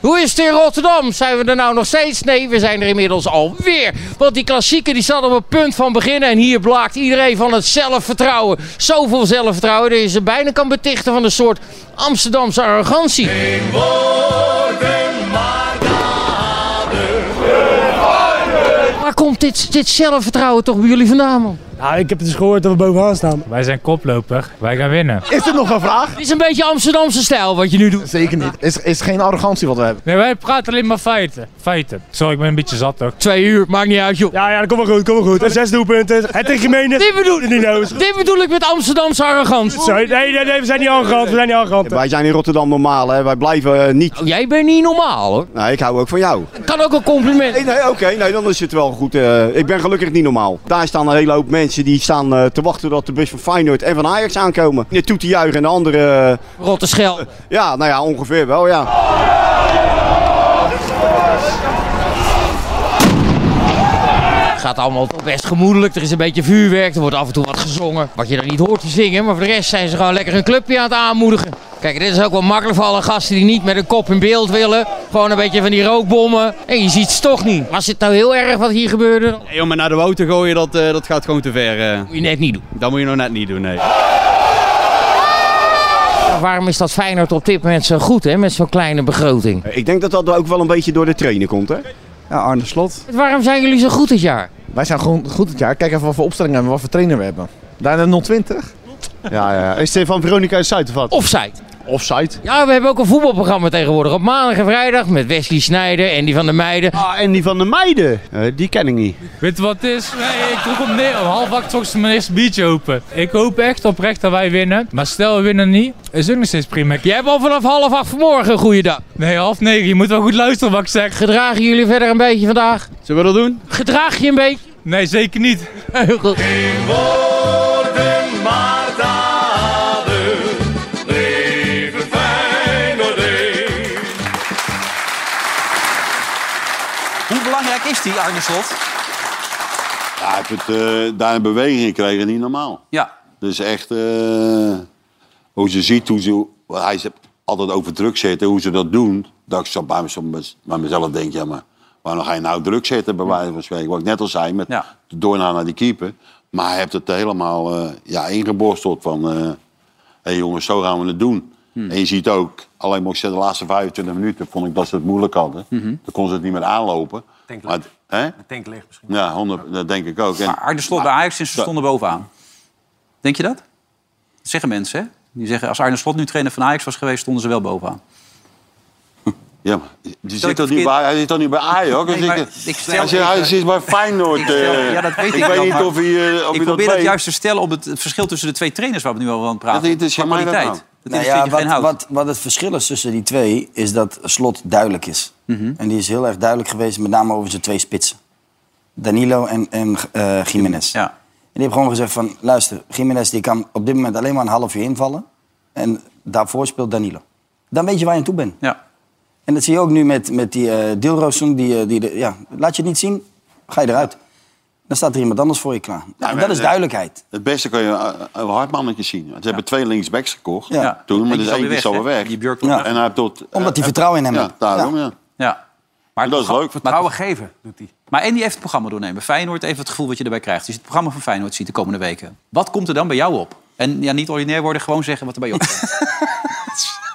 Hoe is het in Rotterdam? Zijn we er nou nog steeds? Nee, we zijn er inmiddels alweer. Want die klassieker die staat op het punt van beginnen. En hier blaakt iedereen van het zelfvertrouwen. Zoveel zelfvertrouwen dat je ze bijna kan betichten van een soort Amsterdamse arrogantie. Waar komt dit, dit zelfvertrouwen toch bij jullie vandaan, man?
Nou, ik heb dus gehoord dat we bovenaan staan. Wij zijn koploper, wij gaan winnen.
Is dit nog een vraag?
Dit is een beetje Amsterdamse stijl wat je nu doet.
Zeker niet. Is, is geen arrogantie wat we hebben.
Nee, wij praten alleen maar feiten. Feiten. Sorry, ik ben een beetje zat toch?
Twee uur, maakt niet uit, joh.
Ja, ja, dat komt wel goed, komt wel goed. En zes doelpunten. Het is gemeen.
Dit bedoel,
Niet nodig.
dit bedoel ik met Amsterdamse arrogantie.
Sorry, nee, nee, nee, we zijn niet arrogant, we zijn niet arrogant.
Wij zijn in Rotterdam normaal, hè. Wij blijven eh, niet.
Oh, jij bent niet normaal, hoor.
Nou, ik hou ook van jou.
Kan ook een compliment.
Nee, nee, oké. nee, dan is het wel goed. eh, ik ben gelukkig niet normaal. Daar staan een hele hoop mensen die staan eh, te wachten tot de bus van Feyenoord en van Ajax aankomen. De toe te juichen en de andere... eh,
Rotte schel.
ja, nou ja, ongeveer wel, ja.
Het gaat allemaal toch best gemoedelijk. Er is een beetje vuurwerk. Er wordt af en toe wat gezongen. Wat je dan niet hoort te zingen. Maar voor de rest zijn ze gewoon lekker een clubje aan het aanmoedigen. Kijk, dit is ook wel makkelijk voor alle gasten die niet met een kop in beeld willen. Gewoon een beetje van die rookbommen. En je ziet ze toch niet. Was het nou heel erg wat hier gebeurde? Dat
Hey, om naar de wouter gooien, dat, eh, dat gaat gewoon te ver. eh.
moet je net niet doen.
Dat moet je nog net niet doen, nee.
Nou, waarom is dat Feyenoord op dit moment zo goed, hè? Met zo'n kleine begroting.
Ik denk dat dat ook wel een beetje door de trainer komt, hè.
Ja, Arne Slot.
Waarom zijn jullie zo goed dit jaar?
Wij zijn gewoon goed dit jaar. Kijk even wat voor opstelling hebben, wat voor trainer we hebben. Daarna 020. Ja, ja. Is het van Veronica uit Zuid of wat?
Offside.
Offside.
Ja, we hebben ook een voetbalprogramma tegenwoordig. Op maandag en vrijdag met Wesley Snijder en die van der Meijden.
Ah, en die van de meiden. Eh, die ken ik niet.
Weet je wat het is? Nee, ik druk op neer. Om half acht 's ochtends mijn eerste biertje open. Ik hoop echt oprecht dat wij winnen. Maar stel we winnen niet, is ook nog steeds prima.
Jij hebt al vanaf half acht vanmorgen een goede dag.
Nee, half negen. Je moet wel goed luisteren wat ik zeg.
Gedragen jullie verder een beetje vandaag?
Zullen we dat doen?
Gedraag je een beetje?
Nee, zeker niet.
Heel goed.
Hoe belangrijk is die, Arne Slot?
Ja, ik heb het, eh, daar een beweging gekregen, niet normaal.
Ja.
Dus echt, eh, hoe ze ziet, hoe ze, hij zegt altijd over druk zetten, hoe ze dat doen. Dat ik zo bij, mez- bij mezelf denk, ja, maar waarom ga je nou druk zetten, bij wijze van spreken? Wat ik net al zei, met
Ja.
de doornaar naar die keeper. Maar hij heeft het helemaal eh, ja, ingeborsteld van, eh, hé jongens, zo gaan we het doen.
Hmm.
En je ziet ook, alleen maar ik zeg, de laatste 25 minuten vond ik dat ze het moeilijk hadden.
Mhm.
Dan kon ze het niet meer aanlopen.
Denk
maar, het- hè?
Tank leeg misschien.
Ja, 100, dat denk ik ook. En-
Maar Arne Slot bij Ajax is ze stonden bovenaan. Denk je dat? Dat zeggen mensen, hè? Die zeggen, als Arne Slot nu trainer van Ajax was geweest, stonden ze wel bovenaan.
Ja, maar die zit
ik
toch
verkeerd-
niet bij, hij zit toch niet bij Ajax?
Nee,
Hij zit-
maar ik stel
hij, zit, hij
even-
zit bij Feyenoord.
stel-
eh.
ja, dat weet ik
ik weet
wel,
niet
maar
of hij, eh, of
ik
hij dat
probeer het
weet.
juist te stellen op het, het verschil tussen de twee trainers waar we nu over aan het praten.
Dat interesseert mij dat
Kwaliteit.
nou?
Dat
Nou
interesseert
ja,
je
wat,
geen hout.
wat, wat het verschil is tussen die twee, is dat Slot duidelijk is.
Mhm.
En die is heel erg duidelijk geweest, met name over zijn twee spitsen. Danilo en, en eh Jiménez.
Ja.
En die heeft gewoon gezegd van, luister, Jiménez die kan op dit moment alleen maar een half uur invallen. En daarvoor speelt Danilo. Dan weet je waar je aan toe bent.
Ja.
En dat zie je ook nu met, met die eh Dilrosun. Die, eh, die, de- ja, laat je het niet zien, ga je eruit. dan staat er iemand anders voor je klaar.
Nou,
dat is
eh,
duidelijkheid.
Het beste kan je eh, een hardmannetje zien. Ze hebben twee linksbacks gekocht
Ja.
toen, maar
Eentje
dus
is alweer
één die is
weg,
alweer
hè?
weg.
Die Björk Ja.
En hij heeft tot,
Omdat hij
eh,
vertrouwen in hem
ja,
heeft.
Daarom,
Ja.
ja.
Ja. Maar
dat is leuk.
Vertrouwen geven, doet hij. Maar Andy heeft het programma doornemen. Feyenoord even het gevoel wat je erbij krijgt. Als je het programma van Feyenoord ziet de komende weken. Wat komt er dan bij jou op? En ja, niet ordinair worden, gewoon zeggen wat er bij je opkomt.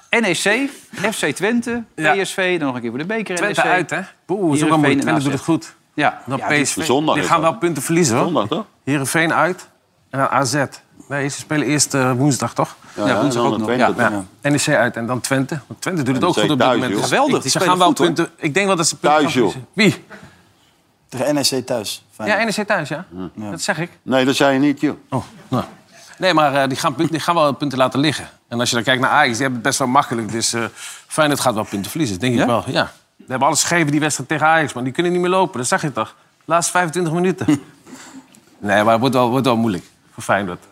NEC, FC Twente, PSV, dan nog een keer voor de beker.
Twente
NEC.
uit, hè? Boe, zo
Heerenveen
kan
en
moeilijk. Twente
AZ.
doet het goed.
Ja.
Dan
Ja,
PSV.
die- zondag
die
is
gaan
dat.
wel punten verliezen, hoor.
Zondag, toch?
Heerenveen uit en dan AZ. Nee, ze spelen eerst eh, woensdag, toch?
Ja, ja,
woensdag
en dan Twente,
Ja,
toch?
ja. NEC uit en dan Twente. Want Twente doet het ook
NEC
goed op dit
thuis,
moment.
joh.
Dus
Geweldig,
ik-
die
Ze
spelen
gaan wel
goed, hoor.
punten... Ik denk wel dat ze punten
Thuis,
gaan
joh.
verliezen. Wie?
Tegen NEC thuis.
Ja, NEC thuis, ja. Dat zeg ik.
Nee, dat zei je niet, joh.
Nee, maar eh, die, gaan, punt- die gaan wel punten laten liggen. En als je dan kijkt naar Ajax, die hebben het best wel makkelijk. Dus eh Feyenoord gaat wel punten verliezen, denk ik wel. Ja. We hebben alles gegeven die wedstrijd tegen Ajax, maar die kunnen niet meer lopen. Dat zag je toch? De laatste 25 minuten. nee, maar het wordt wel, wordt wel moeilijk voor Feyenoord.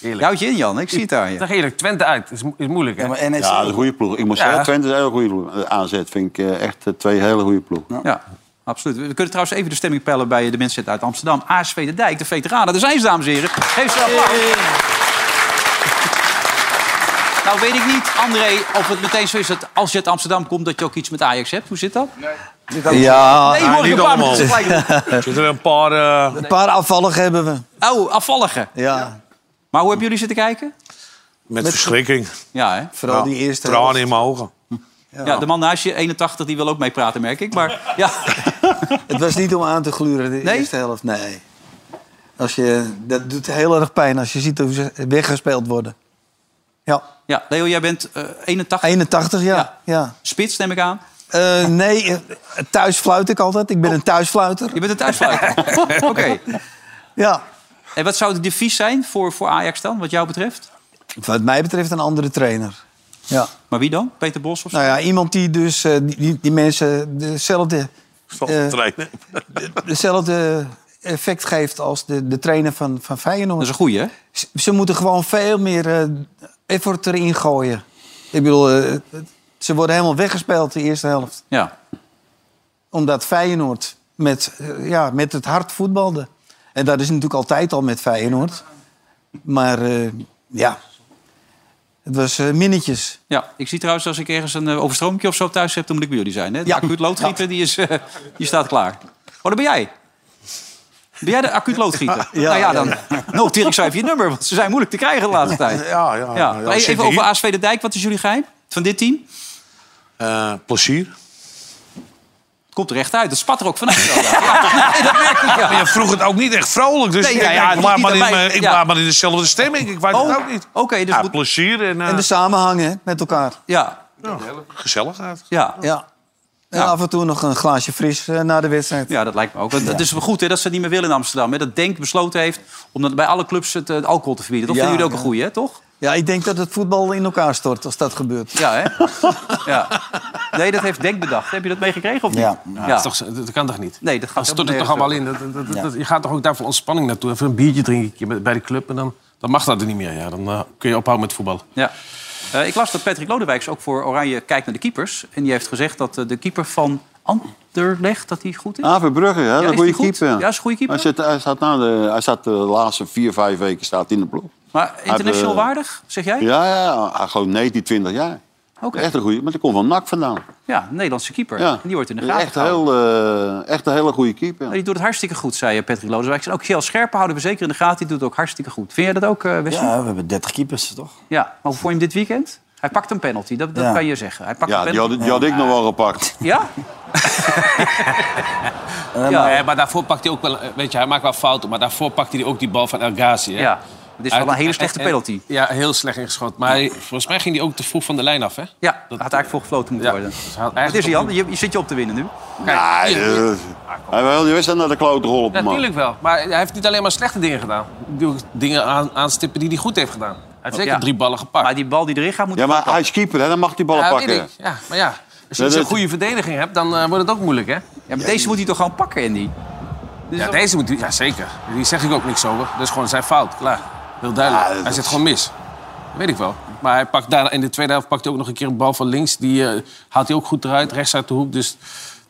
Eerlijk.
Je houdt je in, Jan. Ik zie het aan je.
Zeg eerlijk, Twente uit is, mo- is moeilijk, hè?
maar NEC...
Ja, dat is een goede ploeg. Ik moet
Ja.
zeggen, Twente is een hele goede ploeg. Eh, AZ vind ik eh, echt eh, twee hele goede ploegen.
Ja, absoluut. We kunnen trouwens even de stemming pellen bij de mensen uit Amsterdam. ASV De Dijk, de veteranen. Daar zijn ze, dames en heren. Geef ze een applaus. Nou weet ik niet, André, of het meteen zo is dat als je uit Amsterdam komt... dat je ook iets met Ajax hebt. Hoe zit dat? Nee.
Ja,
nee, hoor ik een paar mensen tegelijk.
Zitten er een paar... Een paar afvalligen hebben we.
Oh, afvalligen.
Ja.
Maar hoe hebben jullie zitten kijken?
Met, verschrikking.
Ja, hè?
Nou, Vooral die eerste Tranen in mijn ogen.
Ja. de man naast je, 81, die wil ook meepraten, merk ik. Maar ja,
Het was niet om aan te gluren, de eerste helft. Nee. Als je, dat doet heel erg pijn als je ziet hoe ze weggespeeld worden. Ja.
ja Leo, jij bent eh, 81.
81, ja. ja.
Spits, neem ik aan.
Eh, nee, eh, thuis fluit ik altijd. Ik ben een thuisfluiter.
Je bent een thuisfluiter. Oké.
Ja.
En wat zou de devies zijn voor, voor Ajax dan, wat jou betreft?
Wat mij betreft een andere trainer. Ja.
Maar wie dan? Peter Bos of zo?
Nou ja, iemand die dus eh, die- die, die mensen dezelfde... eh,
trainen.
dezelfde effect geeft als de, de trainer van, van Feyenoord.
Dat is een goeie, hè?
Ze- Ze moeten gewoon veel meer eh, effort erin gooien. Ik bedoel, eh, ze worden helemaal weggespeeld de eerste helft.
Ja.
Omdat Feyenoord met, eh, ja, met het hart voetbalde. En dat is natuurlijk altijd al met Feyenoord. Maar eh, ja, het was eh, minnetjes.
Ja, ik zie trouwens als ik ergens een eh, overstroming of zo thuis heb, dan moet ik bij jullie zijn. Hè? De acuut loodgieter, die, is, eh, die staat klaar. Oh, daar ben jij. Ben jij de acuut loodgieter?
Ja,
nou ja,
ja,
dan noteer ik zo even je nummer, want ze zijn moeilijk te krijgen de laatste tijd.
Ja, ja, ja.
maar
Ja, zit
even
hier.
over ASV De Dijk, wat is jullie geheim van dit team?
Eh, plezier.
Het komt er echt uit, dat spat er ook vanuit. wel, ja. Nee, dat merk ik, ja.
Maar je vroeg het ook niet echt vrolijk. Dus
Nee,
ik-
ja, ja,
ik
niet-
laat
niet
maar, in,
aan mij,
mijn- ik
ja.
laat maar in dezelfde stemming. Ik weet
Oh.
het ook niet.
Oké, dus
ja,
moet-
plezier en, eh,
En de samenhangen hè, met elkaar.
Ja.
gezelligheid.
Ja.
Ja. En af en toe nog een glaasje fris eh, na de wedstrijd.
Ja, dat lijkt me ook. Want Het is wel goed hè, dat ze het niet meer willen in Amsterdam. Hè? Dat Denk besloten heeft om dat bij alle clubs het eh, alcohol te verbieden. Dat
Ja,
vinden jullie ook
ja.
een goeie, hè, toch?
Ja, ik denk dat het voetbal in elkaar stort als dat gebeurt.
Ja, hè? ja. Nee, dat heeft Denk bedacht. Heb je dat meegekregen of niet?
Ja.
Ja, Dat, is toch, zo- eh, dat kan toch niet?
Nee, dat gaat
Dan stort het toch allemaal in. Dat, dat- dat-
Ja.
dat- je gaat toch ook daar voor ontspanning naartoe. Even een biertje drinken bij de club en dan, dan mag dat er niet meer. Ja, dan eh, kun je ophouden met voetbal.
Ja. Eh, ik las dat Patrick Lodewijks ook voor Oranje kijkt naar de keepers. En die heeft gezegd dat eh, de keeper van Anderlecht dat die goed is.
Ah, Verbrugge, hè?
is
dat
die
is een goede
goed?
keeper.
Ja, is een goede keeper.
Hij zit, hij, staat nou de, hij staat de laatste vier, vijf weken staat in de ploeg.
Maar international
Hij, eh,
waardig, zeg jij?
Ja, ja, hij gewoon 19, 20 jaar.
Oké.
Echt een goede, maar die komt van NAC vandaan.
Ja, Nederlandse keeper.
Ja.
En die wordt in de gaten
Echt,
gehouden.
heel, eh, echt een hele goede keeper.
Maar Nou, Die doet het hartstikke goed, zei eh, Patrick Lodewijk. En ook Kjell Scherpen houden we zeker in de gaten. Die doet het ook hartstikke goed. Vind jij dat ook, eh Wesley?
Ja, we hebben 30 keepers, toch?
Ja, maar hoe vond je hem dit weekend? Hij pakt een penalty, dat, dat
Ja.
kan je zeggen. Hij pakt
Ja,
een
die had,
penalty.
die had ik nog wel gepakt.
Ja?
Ja. Eh, maar daarvoor pakt hij ook wel, eh, weet je, hij maakt wel fouten, maar daarvoor pakt hij ook die bal van El Ghazi. hè?
Ja, het is wel
Uit-
een hele slechte
en- en-
penalty.
ja, heel slecht ingeschoten. Maar hij- volgens mij ging hij ook te vroeg van de lijn af, hè?
Ja, dat had eigenlijk voor gefloten moeten worden. Wat is hij, Jan? Je, je zit je op te winnen nu.
Ja,
hier.
eh, hij wil die wedstrijd naar de klote geholpen, man.
Natuurlijk wel, maar hij heeft niet alleen maar slechte dingen gedaan. Hij doet ook dingen aan, aanstippen die hij goed heeft gedaan. Hij heeft zeker
Ja.
drie ballen gepakt.
Maar die bal die erin gaat, moet
Ja, maar hij is keeper, hè? dan mag die ballen
ja, weet
pakken.
ik. Ja, maar ja, als je
Ja,
niet zo'n
dat-
goede verdediging hebt, dan eh, wordt het ook moeilijk, hè?
Ja, maar deze moet hij toch gewoon pakken, Andy? Dus
ja, deze moet hij... Ja, zeker. Die zeg ik ook niks over. Dat is gewoon zijn fout, klaar. Heel duidelijk. hij zit gewoon mis. Dat weet ik wel. Maar hij pakt daar, in de tweede helft pakt hij ook nog een keer een bal van links. Die eh, haalt hij ook goed eruit, rechts uit de hoek. Dus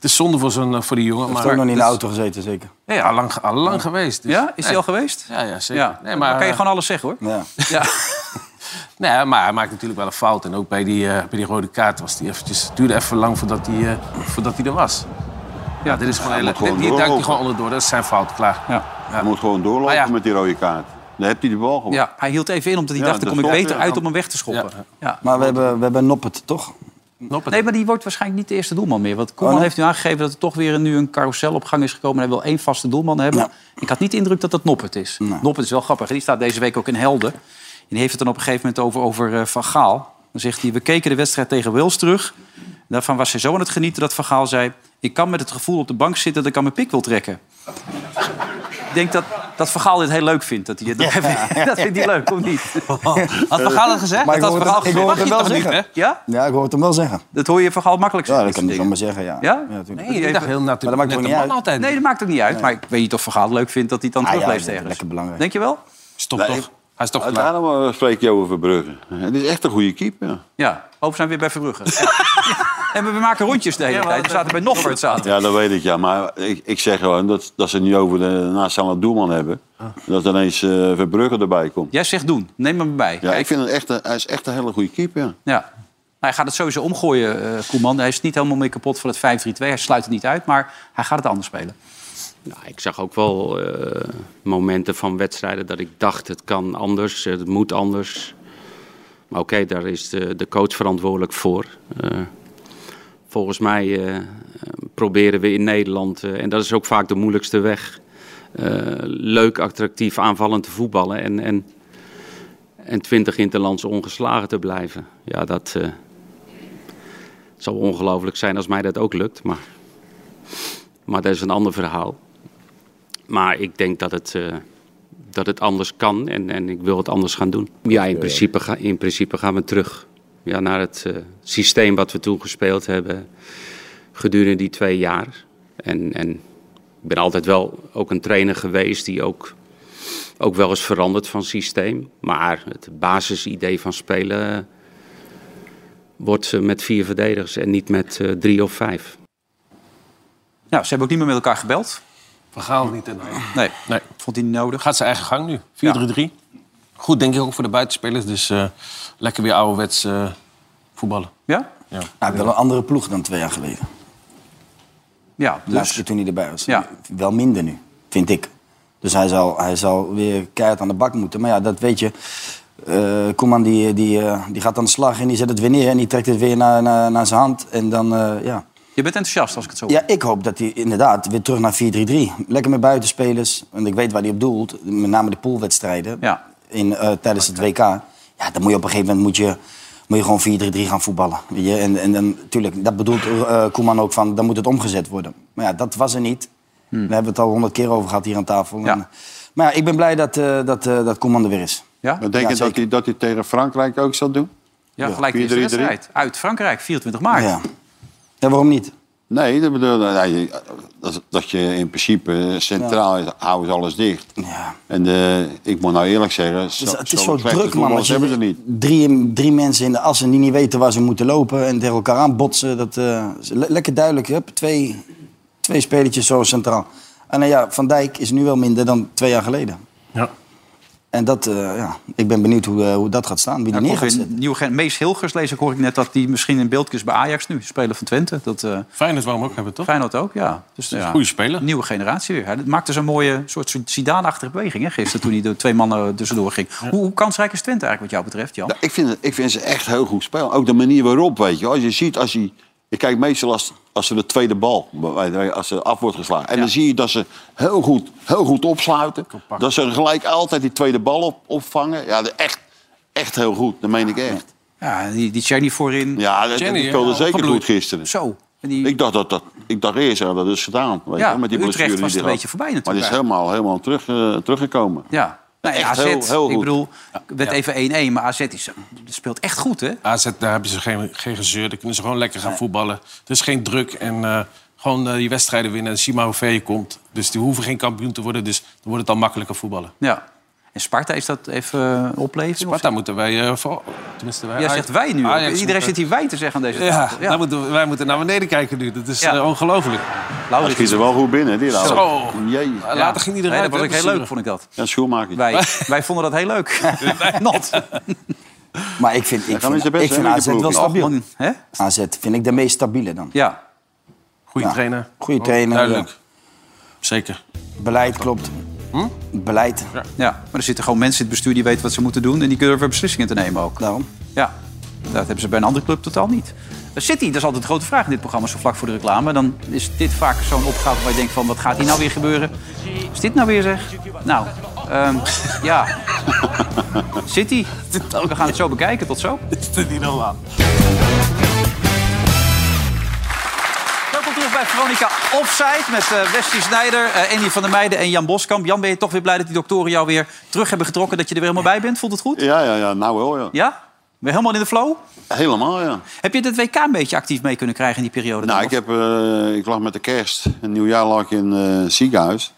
is zonde voor, zo'n, eh, voor die jongen.
Heeft
maar
ook nog niet in
Dus-
de
dat-
auto gezeten, zeker.
Ja, ja. Al, lang, al lang geweest. dus-
Ja? Is hij
Nee.
al geweest?
Ja, ja zeker.
Ja.
Nee, maar,
Dan kan je gewoon alles zeggen, hoor.
Ja.
Nee, maar hij maakt natuurlijk wel een fout. En ook bij die, eh, bij die rode kaart was die eventjes, het duurde even lang voordat hij eh, voordat hij er was. Ja, dit is gewoon hele,
gewoon
dit- hier duikt hij
doorlopen.
gewoon onderdoor. Dat is zijn fout, klaar.
Hij moet gewoon doorlopen met die rode kaart. Dan hebt hij de bal gewoon.
Ja, hij hield even in omdat hij
Ja,
dacht, dan
dat
kom ik
klopt,
beter
ja.
uit om hem weg te schoppen. Ja.
Maar we hebben, we hebben Noppert, toch?
Nee, maar die wordt waarschijnlijk niet de eerste doelman meer. Want Koeman
Oh, nee?
heeft nu aangegeven dat er toch weer een- nu een carousel op gang is gekomen. En hij wil één vaste doelman hebben. Ik had niet de indruk dat dat Noppert is. Noppert is wel grappig. Die staat deze week ook in Helden. En die heeft het dan op een gegeven moment over, over eh, Van Gaal. Dan zegt hij, we keken de wedstrijd tegen Wils terug. Daarvan was hij zo aan het genieten dat Van Gaal zei... ik kan met het gevoel op de bank zitten dat ik aan mijn pik wil trekken. Ik denk dat, dat Van Gaal dit heel leuk vindt. Dat, hij, het nog even- dat vindt hij leuk, of niet? Had Van Gaal dat gezegd?
Maar
dat
ik
had Van
hoor het-
Gaal
ik
gezegd.
hoor
Mag
het
je
hem
toch
wel
niet, hè?
zeggen.
Ja?
Ja, ik hoor het hem wel zeggen.
Dat hoor je van Gaal makkelijk
Ja,
zeggen.
dat kan ik
dit soort
zomaar
dingen.
zeggen, ja.
Ja?
natuurlijk.
Nee, ik dacht heel
Maar dat maakt toch niet uit?
altijd. Nee, dat maakt ook niet uit. Maar ik weet niet of Van Gaal het leuk vindt dat hij het dan
Ah, ja,
terugleest
dat is
ergens.
lekker belangrijk.
Denk je wel? Stop
Nee,
toch. Hij is toch klaar.
Daarom eh, spreek je over Brugge. Het is echt een goede keeper.
Ja, hoop zijn we weer bij Verbrugge. Ja. En we we maken rondjes de hele tijd. We zaten bij Noffert. Zaten. we.
Ja, dat weet ik, ja. Maar ik, ik zeg gewoon dat, dat ze niet over de nationale doelman hebben. Dat ineens eh Verbrugge erbij komt.
Jij zegt doen. Neem hem bij.
Ja, ik vind het echt, een- hij is echt een hele goede keeper. ja.
Ja. Nou, Hij gaat het sowieso omgooien, eh, Koeman. Hij is niet helemaal meer kapot van het 5-3-2. Hij sluit het niet uit, maar hij gaat het anders spelen.
Ik zag ook wel eh, momenten van wedstrijden dat ik dacht het kan anders, het moet anders. Maar oké, daar is de, de coach verantwoordelijk voor. Eh, volgens mij eh, eh, proberen we in Nederland, eh, en dat is ook vaak de moeilijkste weg, eh, leuk, attractief, aanvallend te voetballen en, en, en 20 interlands ongeslagen te blijven. Ja, dat eh, zal ongelooflijk zijn als mij dat ook lukt, maar, maar dat is een ander verhaal. Maar ik denk dat het, eh, dat het anders kan en, en ik wil het anders gaan doen. Ja, in principe, ga, in principe gaan we terug ja, naar het eh, systeem wat we toen gespeeld hebben gedurende die twee jaar. En, en ik ben altijd wel ook een trainer geweest die ook, ook wel eens verandert van systeem. Maar het basisidee van spelen eh, wordt eh, met vier verdedigers en niet met eh, drie of vijf.
Nou, ze hebben ook niet meer met elkaar gebeld.
Van Gaal niet. En, nee.
Nee.
nee.
Vond hij niet nodig.
Gaat zijn eigen gang nu. 4-3-3. Goed, denk ik ook voor de buitenspelers. Dus eh, lekker weer ouderwets eh, voetballen.
Ja?
Ja.
Hij heeft Nou, wel een andere ploeg dan twee jaar geleden.
Ja, dus
De laatste keer toen hij erbij was. Wel minder nu, vind ik. Dus hij zal, hij zal weer keihard aan de bak moeten. Maar ja, dat weet je. Eh Koeman die, die, eh, die gaat aan de slag en die zet het weer neer. En die trekt het weer naar, naar, naar zijn hand. En dan, eh, ja.
Je bent enthousiast als ik het zo hoor.
Ja, ik hoop dat hij inderdaad weer terug naar 4-3-3. Lekker met buitenspelers. Want ik weet waar hij op doelt. Met name de poolwedstrijden. In, eh, tijdens het WK. Ja, dan moet je op een gegeven moment moet je, moet je gewoon 4-3-3 gaan voetballen. Weet je? En, en dan, tuurlijk, dat bedoelt eh, Koeman ook van, dan moet het omgezet worden. Maar ja, dat was er niet. We hebben we het al honderd keer over gehad hier aan tafel. En- maar ja, ik ben blij dat, eh, dat, eh, dat Koeman er weer is.
Ja?
Maar denk je dat hij, dat hij tegen Frankrijk ook zal doen?
Ja, gelijk de eerste
4-3-3.
wedstrijd. Uit Frankrijk, 24 maart.
Ja. En waarom niet?
Nee, dat, bedoel, nee, dat, dat je in principe centraal is, houden ze alles dicht. En eh, ik moet nou eerlijk zeggen, zo,
Het is, Dus het is zo druk,
slechte
man.
voetballers
Als
hebben ze
je
niet.
drie, drie mensen in de assen die niet weten waar ze moeten lopen en tegen elkaar aan botsen. Dat, eh, is le- lekker duidelijk. Hup, twee, twee spelertjes zo centraal. En nou ja, Van Dijk is nu wel minder dan twee jaar geleden.
Ja.
En dat, eh, ja, ik ben benieuwd hoe, eh, hoe dat gaat staan. Wie die
Nou,
neer
komt
gaat
weer
zetten.
een nieuwe gen- Mees Hilgers lees ik, hoor ik net dat die misschien in beeld is bij Ajax nu. Speler van Twente. Dat, eh
Feyenoord waarom ook hebben, toch?
Feyenoord ook, ja. Dus, ja.
goede speler.
Nieuwe generatie weer. Hij maakte zo'n mooie soort Zidane-achtige beweging hè, gisteren... toen hij de twee mannen er tussendoor ging. Hoe, hoe kansrijk is Twente eigenlijk wat jou betreft, Jan?
Nou, ik, vind, het- ik vind ze echt heel goed spelen. Ook de manier waarop, weet je. wel. Als je ziet, als hij... Ik kijk meestal als, als ze de tweede bal, bij- bij- als ze af wordt geslagen. En dan zie je dat ze heel goed, heel goed opsluiten. Dat ze gelijk altijd die tweede bal op, opvangen. Ja, echt, echt heel goed. Dat meen ik echt.
Ja, die, die Jenny voorin.
Ja, dat,
Jenny,
die speelde
ja,
zeker
opgebloeid.
goed gisteren.
Zo.
Ik, dacht dat, dat, ik dacht eerst dat dat is gedaan. Weet
Ja,
je, met die
Utrecht
blessure die
was
die
een
had.
beetje voorbij
Maar die is
natuurlijk
helemaal, helemaal terug, eh, teruggekomen.
Ja. Nou, ja,
Echt
AZ,
heel- heel
ik
goed.
bedoel, het werd even 1-1, maar AZ is, speelt echt goed, hè?
AZ, daar hebben ze geen, geen gezeur. Daar kunnen ze gewoon lekker gaan voetballen. Er is geen druk en eh, gewoon eh, die wedstrijden winnen. En zie maar hoe ver je komt. Dus die hoeven geen kampioen te worden. Dus dan wordt het al makkelijker voetballen.
Ja. En Sparta is dat even eh, opleving?
Sparta moeten wij eh, voor. Tenminste, wij.
Jij zegt wij nu.
Ajax
Iedereen
moeten-
zit hier wij te zeggen aan deze
Ja,
tafel.
dan moeten we- wij moeten naar beneden kijken nu. Dat is
Ja.
eh, ongelooflijk.
Hij schiet er wel goed binnen, die
Zo. Eh,
Lauwers. Jee.
Later Ja. ging hij eruit,
Nee, dat was
hè,
ook heel
blessure.
leuk, vond ik dat.
Ja, schoenmaker.
Wij, wij vonden dat heel leuk. Not.
Maar ik vind,
Dan
ik
is
vind,
het best,
ik vind
hè, met
AZ
je
wel
ploeg.
stabiel.
Algemeen,
AZ vind ik de meest stabiele dan.
Ja.
Goede trainer.
Goede
Oh,
trainer.
duidelijk.
ja.
Zeker.
Beleid klopt. Beleid.
Ja.
maar er zitten gewoon mensen in het bestuur die weten wat ze moeten doen... en die kunnen er beslissingen te nemen
Nou,
ook.
Daarom.
Ja, dat hebben ze bij een andere club totaal niet. Eh, City, dat is altijd een grote vraag in dit programma, zo vlak voor de reclame. Dan is dit vaak zo'n opgave waar je denkt van, wat gaat hier nou weer gebeuren? Is dit nou weer zeg? Nou, ehm, ja. City, we gaan het zo bekijken. Tot zo.
Is dit nou niet normaal?
Welkom terug bij Veronica Offside met eh Wesley Snijder, eh Andy van der Meijden en Jan Boskamp. Jan, ben je toch weer blij dat die doktoren jou weer terug hebben getrokken? Dat je er weer helemaal bij bent? Voelt het goed?
Ja, ja, ja, nou wel, ja.
Ja? Ben je helemaal in de flow?
Helemaal, ja.
Heb je het WK een beetje actief mee kunnen krijgen in die periode?
Nou, ik, heb, eh, ik lag met de kerst. Een nieuwjaar lag ik in eh, een ziekenhuis.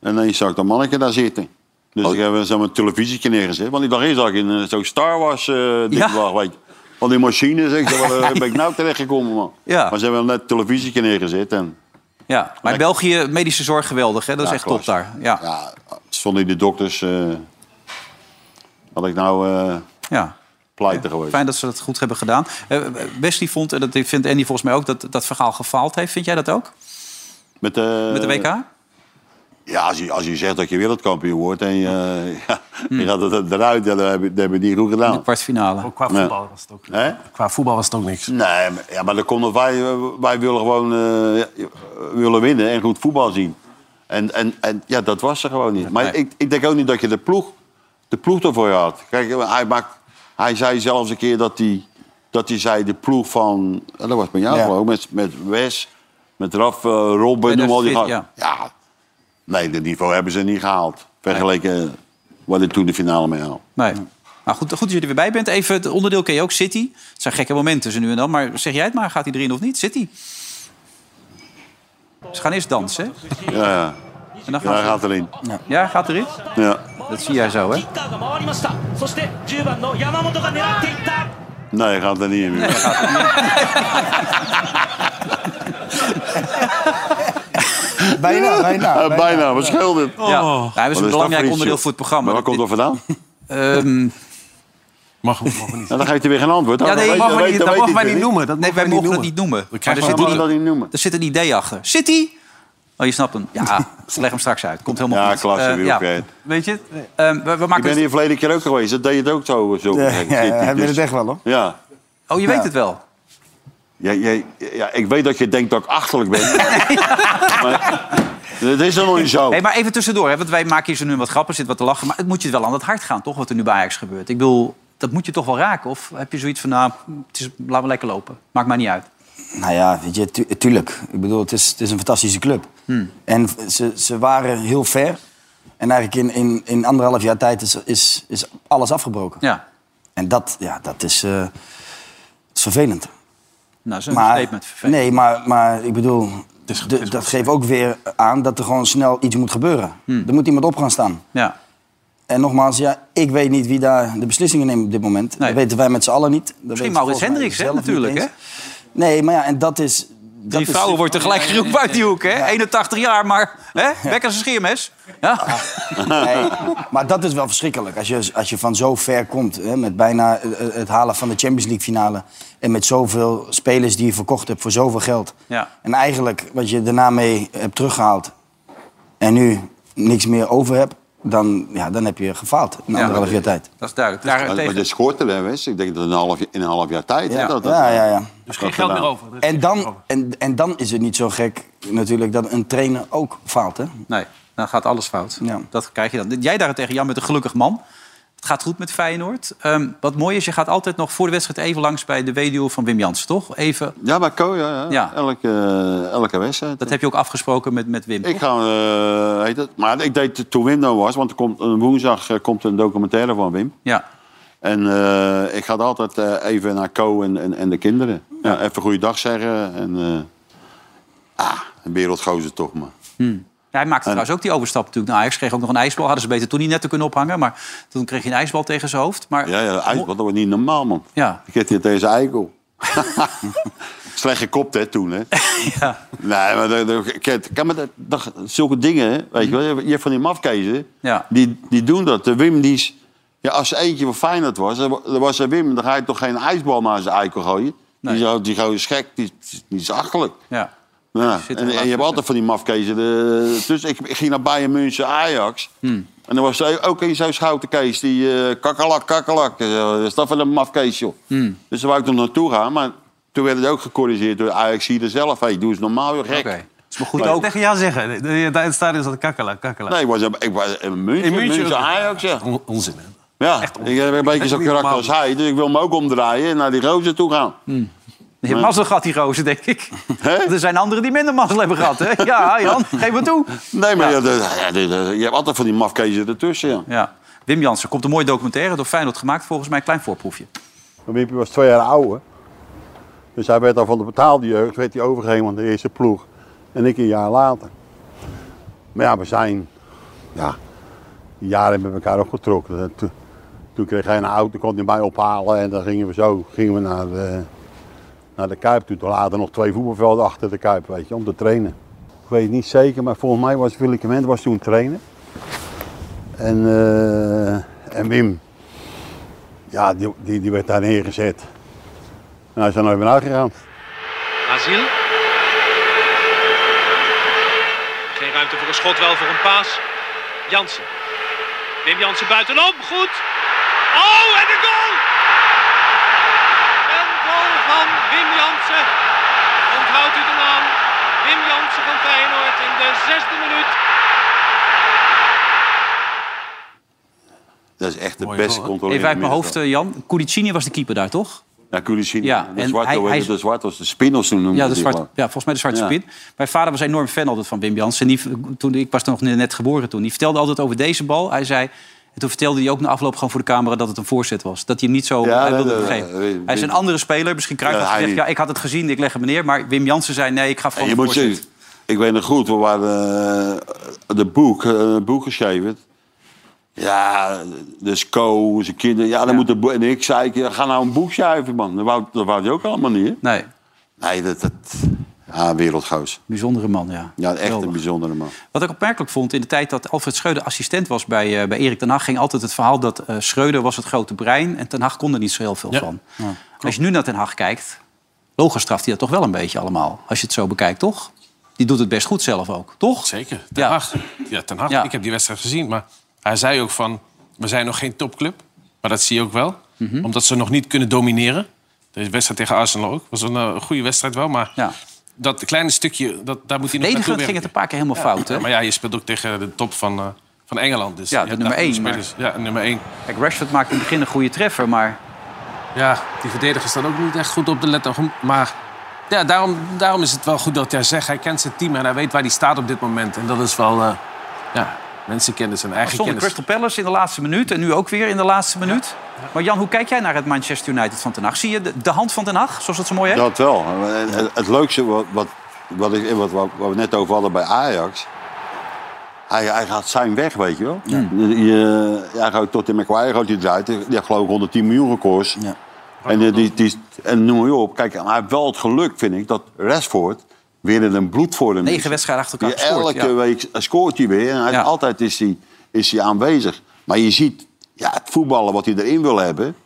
En dan zag ik dat mannetje daar zitten. Dus
Oh.
ik heb zo mijn televisietje neergezet. Want ik dacht eerst dat ik in eh, zo'n Star Wars eh ding
Ja.
lag, weet je. Van die machines, ik dacht, waar ben ik nou terechtgekomen, man?
Ja.
Maar ze hebben net een televisietje neergezet en...
Ja, maar in België medische zorg geweldig, hè? Dat is echt top daar. Ja.
Stonden de dokters... eh, had ik nou eh
Ja.
pleiten geweest.
Fijn dat ze dat goed hebben gedaan. Eh, Wesley vond, en dat vindt Andy volgens mij ook, dat dat verhaal gefaald heeft. Vind jij dat ook?
Met eh, de,
Met de WK?
Ja, als je, als je zegt dat je wereldkampioen wordt en je, eh, ja, je gaat het eruit, ja, dan heb je, dan heb je het niet goed gedaan. De
kwartfinale.
Ook qua voetbal was het ook. Qua voetbal was het ook niks.
Nee, maar, ja, maar dan komt nog wij, eh, wij willen gewoon eh, ja, willen winnen en goed voetbal zien. En, en, en ja, dat was er gewoon niet. Maar ik, ik denk ook niet dat je de ploeg, de ploeg ervoor had. Kijk, hij, maakt, hij zei zelfs een keer dat hij, dat hij zei de ploeg van... eh, Dat was met jou
Ja.
geloof ik, met, met Wes, met Raf, eh, Robben, noem al die
2014,
gasten.
ja.
Ja, nee, dat niveau hebben ze niet gehaald. Vergeleken wat ik toen de finale mee haal.
Nee. Nou, goed, goed dat je er weer bij bent. Even het onderdeel ken je ook, City. Het zijn gekke momenten tussen nu en dan. Maar zeg jij het maar, gaat hij erin of niet? City. Ze gaan eerst dansen, hè?
Ja, ja.
En dan
Ja, hij
gaan
gaat
ze...
erin.
Ja, gaat erin?
Ja.
Dat zie jij zo, hè?
が回りましたそして10番の山本が狙っていった
Nee, hij gaat er niet in.
Bijna, bijna.
bijna. bijna, wat scheelt het?
Ja, nou, hij was een belangrijk onderdeel voor het programma.
Maar waar komt dat vandaan?
Ehm,
Mag, mag niet.
En Nou, dan geeft hij weer geen antwoord.
Ja,
Dan
nee,
weet-
mogen
dan
wij
weet-
niet-
dan
dat
weet
mogen wij
hij
niet
het
noemen. Dat nee, wij mogen dat niet noemen.
We
Maar
krijgen
er zit,
allemaal dat
een,
niet noemen.
er zit een idee achter. City? Oh, je snapt hem. Ja, leg hem straks uit. Komt helemaal
Ja,
goed.
klasse,
Eh,
wie
ja.
ook jij.
Weet je? Ehm, we, we
Ik
maken
ben hier verleden keer ook geweest. Dat deed je het ook zo. zo
Ja,
gek,
ja,
zit hij
hij weet
dus.
het echt wel, hoor.
Ja.
Oh, je weet het wel.
Ja, ja, ja, ik weet dat je denkt dat ik achterlijk ben. maar dat is helemaal niet zo.
Hey, maar even tussendoor, hè, want wij maken hier zo nu wat grappen, zit wat te lachen. Maar het moet je wel aan het hart gaan, toch? Wat er nu bij Ajax gebeurt. Ik bedoel, dat moet je toch wel raken? Of heb je zoiets van, nou, het is, laat me lekker lopen. Maakt mij niet uit.
Nou ja, weet je, tu- tuurlijk. Ik bedoel, het is, het is een fantastische club.
Hmm.
En v- ze, ze waren heel ver. En eigenlijk in, in, in anderhalf jaar tijd is, is, is alles afgebroken.
Ja.
En dat, ja, dat is, eh, het is vervelend.
Nou, zo'n
Maar-
statement. Vervelend.
Nee, maar, maar ik bedoel, de- dat geeft ook weer aan dat er gewoon snel iets moet gebeuren.
Hmm.
Er moet iemand op gaan staan.
Ja.
En nogmaals, ja, ik weet niet wie daar de beslissingen neemt op dit moment. Dat weten wij met z'n allen niet. Dat
Misschien
weten
Maurits
volgens mij
Hendricks, hè,
zelf niet
natuurlijk,
eens.
hè?
Nee, maar ja, en dat is... dat
Die
is-
vrouwen wordt tegelijk geroepen uit die hoek, hè? 81 jaar, maar hè? bek als een scheermes. Ja.
Nou,
Nee, maar dat is wel verschrikkelijk. Als je, als je van zo ver komt, hè, met bijna eh, eh, het halen van de Champions League finale... en met zoveel spelers die je verkocht hebt voor zoveel geld.
Ja.
En eigenlijk wat je daarna mee hebt teruggehaald... en nu niks meer over hebt, dan, ja, dan heb je gefaald in anderhalf jaar tijd.
Dat is duidelijk.
Maar, maar
dus-
de schorten, hè, Wes? Ik denk dat een half, in een half jaar tijd. hè,
Ja,
dat, dat-
ja, ja, ja.
Dus geen geld meer over.
En dan, en, en dan is het niet zo gek natuurlijk dat een trainer ook faalt, hè?
Nee, dan gaat alles fout. Dat krijg je dan. Jij daarentegen, Jan, met een gelukkig man. Het gaat goed met Feyenoord. Ehm, wat mooi is, je gaat altijd nog voor de wedstrijd even langs bij de weduwe van Wim Jansen, toch? Even.
Ja, maar Ko, ja, ja. Elke, eh, elke wedstrijd.
Dat heb je ook afgesproken met, met Wim.
Ik ga, eh, heet het? Maar ik deed toen Wim daar was, want er komt, een woensdag eh, komt een documentaire van Wim.
Ja.
En eh, ik ga altijd eh, even naar Co en, en, en de kinderen. Ja, even goeiedag zeggen. En, eh ah, een wereldgozer toch, maar.
hij maakte trouwens ook die overstap natuurlijk naar Ajax. Kreeg ook nog een ijsbal. Hadden ze beter toen niet net te kunnen ophangen. Maar toen kreeg hij een ijsbal tegen zijn hoofd. Maar
Ja, ja, ijs, dat wordt niet normaal, man.
Ja.
Ik heb hier deze eikel. Slecht gekopt, hè, toen, hè?
ja.
Nee, maar dat, dat, kijk, kijk, maar dat, dat- zulke dingen, hè, weet je wel. Je hebt van die mafkezen,
Ja.
die, die doen dat. De Wim, die is... Ja, als er eentje van Feyenoord was, dan wa- dan was er Wim. Dan ga je toch geen ijsbal naar zijn eikel gooien? Die, zou- die gooien is gek, die, die is achterlijk.
Ja.
Ja,
zit
en,
er
en
wel
je
tussen.
hebt altijd van die mafkezen. eh, tussen. Ik, ik ging naar Bayern München, Ajax. En er was er ook een zo'n schouderkees die eh, kakkelak, kakkelak. eh, Dat is dat van een mafkees, joh. Dus daar wou ik er naartoe gaan. Maar toen werd het ook gecorrigeerd door Ajax hier zelf. Hey, doe eens normaal, joh, gek.
Is maar
goed ook.
Tegen jou zeggen. Daar in het stadion zat kakkelen, kakkelen.
Nee, ik was, ik was in München,
In München?
München, Ajax, ja.
Onzin, hè?
Ja, ik heb een beetje zo'n
Niet
karakter
normaal.
als hij. Dus ik wil me ook omdraaien en naar die rozen toe gaan.
Je hebt mazzel gehad, die rozen, denk ik. Er zijn anderen die minder mazzel hebben gehad, hè? Ja, Jan, geef me toe.
Nee, maar ja. dat- ja, dit- eh, je hebt altijd van die mafkezen ertussen, ja.
Ja. Wim Jansen, komt een mooie documentaire door Feyenoord gemaakt. Volgens mij een klein voorproefje.
Maar Wimpy was twee jaar ouder. Dus hij werd al van de betaalde jeugd werd hij overgegeven aan de eerste ploeg. En ik een jaar later. Maar ja, we zijn ja, jaren met elkaar opgetrokken. En Toen, toen kreeg hij een auto, kon hij mij ophalen. En dan gingen we zo gingen we naar, de, naar de Kuip. Toen later nog twee voetbalvelden achter de Kuip, weet je, om te trainen. Ik weet het niet zeker, maar volgens mij was Willeke Ment was toen trainer. En, eh, en Wim, ja, die, die, die werd daar neergezet. En hij is daar nooit meer uitgegaan.
Azil. Geen ruimte voor een schot, wel voor een paas. Jansen. Wim Jansen buitenom, goed. Oh, en de goal! Een goal van Wim Jansen. Onthoudt u de naam. Wim Jansen van Feyenoord in de zesde minuut.
Dat is echt de beste controle.
Even uit mijn hoofd, eh, Jan. Curicini was de keeper daar, toch?
Ja, Kulisini.
Ja,
de
en
zwarte,
hij-
hoe heet
hij-
het? de zwarte was de spin of zo noemde
Ja, de
die
zwart,
wel.
ja, volgens mij de zwarte
Ja.
spin. Mijn vader was een enorm fan altijd van Wim Jansen. En die, toen, ik was nog net geboren toen. Die vertelde altijd over deze bal. Hij zei... En toen vertelde hij ook na afloop gewoon voor de camera dat het een voorzet was. Dat hij hem niet zo...
Ja,
hij
nee,
wilde
nee,
hem
nee,
geven.
nee,
hij is
Wim-
een andere speler. Misschien Cruijff
Ja,
had
hij
gezegd...
niet.
Ja, ik had het gezien, ik leg hem neer. Maar Wim Jansen zei... Nee, ik ga
En
gewoon
je
voor
moet
voorzet.
je, ik weet nog goed, we waren eh, de boek, eh, een boek geschreven. Ja, dus Co, zijn kinderen. Ja, dan moet de boek. En ik zei, ik, ga nou een boek schrijven, man. Dat wou, dat wou hij ook allemaal niet. hè?
Nee.
Nee, dat. dat ja, wereldgoos.
Bijzondere man, ja.
Ja, echt een bijzondere man.
Wat ik opmerkelijk vond in de tijd dat Alfred Schreuder assistent was bij, eh, bij Erik ten Hag... ging altijd het verhaal dat eh, Schreuder was het grote brein... en ten Hag kon er niet zo heel veel van. Als je nu naar ten Hag kijkt... logisch straft hij dat toch wel een beetje allemaal. Als je het zo bekijkt, toch? Die doet het best goed zelf ook, toch?
Zeker. Ten Hag. Ja, Ten Hag. Ik heb die wedstrijd gezien, maar hij zei ook van... we zijn nog geen topclub, maar dat zie je ook wel.
Mhm.
Omdat ze nog niet kunnen domineren. De wedstrijd tegen Arsenal ook. was een eh, goede wedstrijd wel, maar... Dat kleine stukje, dat, daar moet hij nog naartoe
Verdedigend ging het
werken.
een paar keer helemaal fout, hè?
Ja, maar ja, je speelt ook tegen de top van, eh, van Engeland. Dus
Ja,
je
de
hebt
nummer
daar goede
één.
spelers. Ja, nummer één.
Kijk, Rashford maakt in het begin een goede treffer, maar...
Ja, die verdedigers staan ook niet echt goed op de letter. Maar ja, daarom, daarom is het wel goed dat jij zegt... hij kent zijn team en hij weet waar hij staat op dit moment. En dat is wel... eh, ja, mensenkennis en eigen
Zonder
kennis.
Crystal Palace in de laatste minuut en nu ook weer in de laatste minuut. Maar Jan, hoe kijk jij naar het Manchester United van Ten Hag? Zie je de, de hand van Ten Hag, zoals dat zo mooi heet?
Dat wel. En Het, het leukste wat, wat, wat, ik, wat, wat we net over hadden bij Ajax. Hij, hij gaat zijn weg, weet je wel. Je, hij gaat tot in McQuire gaat hij eruit. Die had geloof ik 110 miljoen gekost. En, eh, die, die, en noem je op. Kijk, hij heeft wel het geluk, vind ik, dat Rashford weer in een bloed voor hem
Negen wedstrijden achter elkaar
Die
gescoord,
Elke
ja.
week scoort hij weer. En hij, altijd is hij, is hij aanwezig. Maar je ziet ja, het voetballen wat hij erin wil hebben.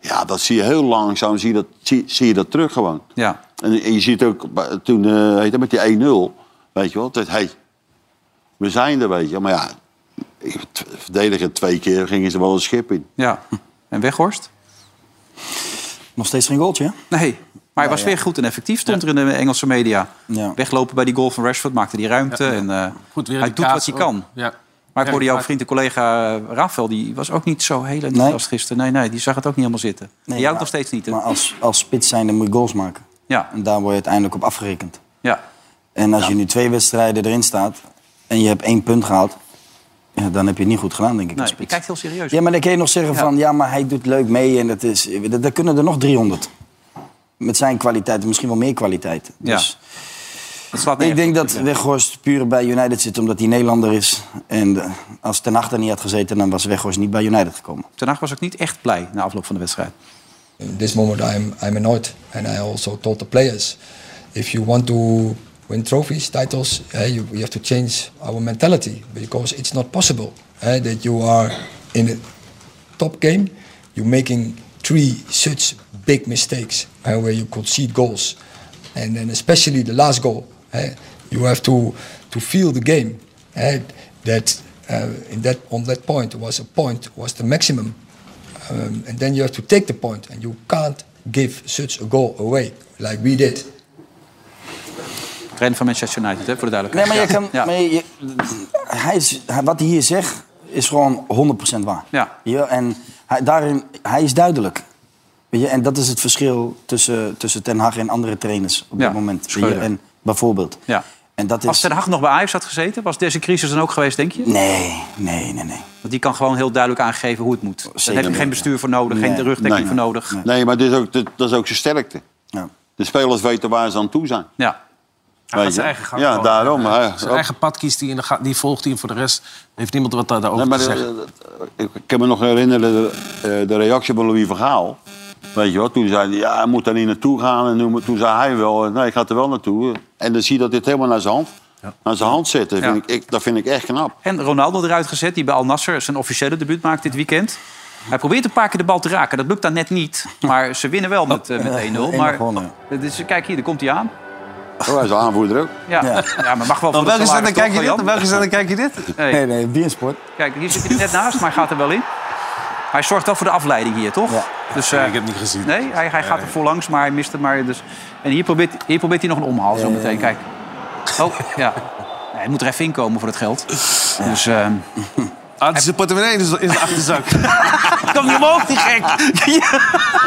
Ja, dat zie je heel langzaam. Zie je dat, zie, zie je dat terug gewoon.
Ja.
En, en je ziet ook bij- toen eh, heet het, met die 1-0. Weet je wel. Dat, hey, we zijn er, weet je wel. Maar ja, ik- t- verdedigen twee keer gingen ze wel een schip in.
Ja. En Weghorst?
Nog steeds geen goaltje, hè?
Nee, maar hij was weer goed en effectief, stond er in de Engelse media. Weglopen bij die goal van Rashford, maakte die ruimte.
Ja, ja.
En, eh,
Goed, weer
hij
die
doet wat
kaas
hij
ook.
kan.
Ja.
Maar ik
Ja,
hoorde jouw
maar-
vriend en collega eh, Rafael, die was ook niet zo heel enthousiast gisteren. Nee, nee, die zag het ook niet helemaal zitten. die houdt
maar-
nog steeds niet. hè?
Maar als, als spits zijn, dan moet je goals maken.
Ja.
En daar word je uiteindelijk op afgerekend.
Ja.
En als je nu twee wedstrijden erin staat en je hebt één punt gehaald... Ja, dan heb je het niet goed gedaan, denk ik. als
Nee, je
spits.
kijkt heel serieus.
Ja, maar dan kun je nog zeggen van... ja, maar hij doet leuk mee en dat is... Dat, dat kunnen er nog 300. Met zijn kwaliteit, misschien wel meer kwaliteit.
Ja.
Dus ik denk dat Weghorst puur bij United zit omdat hij Nederlander is. En eh, als Ten Hag er niet had gezeten, dan was Weghorst niet bij United gekomen.
Ten Hag was ook niet echt blij na afloop van de wedstrijd.
In this moment, I'm, I'm annoyed, and I also told the players, if you want to win trophies, titles, eh, you, you have to change our mentality because it's not possible eh, that you are in a top game, you're making three such big mistakes eh, where you concede goals, and then especially the last goal. eh, you have to to feel the game. eh, that uh, in that on that point was a point was the maximum um, and then you have to take the point, and you can't give such a goal away like we did.
Trainer van Manchester United, hè, voor de
Nee,
duidelijkheid.
maar, je
Ja.
kan, maar je- je- hij is, hij- wat hij hier zegt is gewoon 100% waar.
Ja.
Ja, en hij, daarin, hij is duidelijk. Weet je, en dat is het verschil tussen, tussen Ten Hag en andere trainers op
Ja,
dit moment. Weet je,
Schreuder.
en bijvoorbeeld.
Ja.
En dat is...
Als Ten Hag nog bij Ajax had gezeten, was deze crisis dan ook geweest, denk je?
Nee, nee, nee, nee.
Want die kan gewoon heel duidelijk aangeven hoe het moet. Daar heb je
niet,
geen bestuur voor nodig, geen rugdekking voor nodig.
Nee, maar dit is ook, dit- dat is ook zijn sterkte. De spelers weten waar ze aan toe zijn.
Ja.
Hij
Weet
gaat zijn
je?
eigen gang.
Ja,
gewoon.
daarom.
Ja,
hè.
zijn eigen pad kiest hij en dan gaat- die volgt hij. En voor de rest heeft niemand wat daar- daarover
Nee, maar
te
de-
zeggen.
Ik, ik kan me nog herinneren de, eh, de reactie van Louis van Gaal. Weet je wel, toen zei hij, ja, hij moet daar niet naartoe gaan. En toen, toen zei hij wel, eh, nee, ik ga er wel naartoe. En dan zie je dat dit helemaal naar zijn hand, naar zijn hand zit. Dat,
Ja.
vind ik, ik, dat vind ik echt knap.
En Ronaldo eruit gezet, die bij Al Nasser zijn officiële debuut maakt dit weekend. Hij probeert een paar keer de bal te raken. Dat lukt dan net niet. Maar ze winnen wel met, eh, met 1-0.
Eh,
Maar,
gewonnen.
dus, kijk hier, daar komt hij aan.
Oh, hij is aanvoerder ook.
Ja, ja. maar mag wel
Op welke
de
zender
salaris, toch,
kijk je dit?
Jan?
Op welke zender
kijk je dit?
Nee.
Nee, nee, Beersport.
Kijk, hier zit hij er net naast, maar hij gaat er wel in. Hij zorgt wel voor de afleiding hier, toch? Dus, ik heb
niet gezien.
Nee, hij, hij gaat er voorlangs, maar hij mist het maar. Dus. En hier probeert, hier probeert hij nog een omhaal zo meteen. Kijk. Oh, ja. Nee, hij moet er even inkomen voor het geld. Dus, ehm
Ah, het is de portemonnee in de in de achterzak.
Kom niet omhoog, die gek!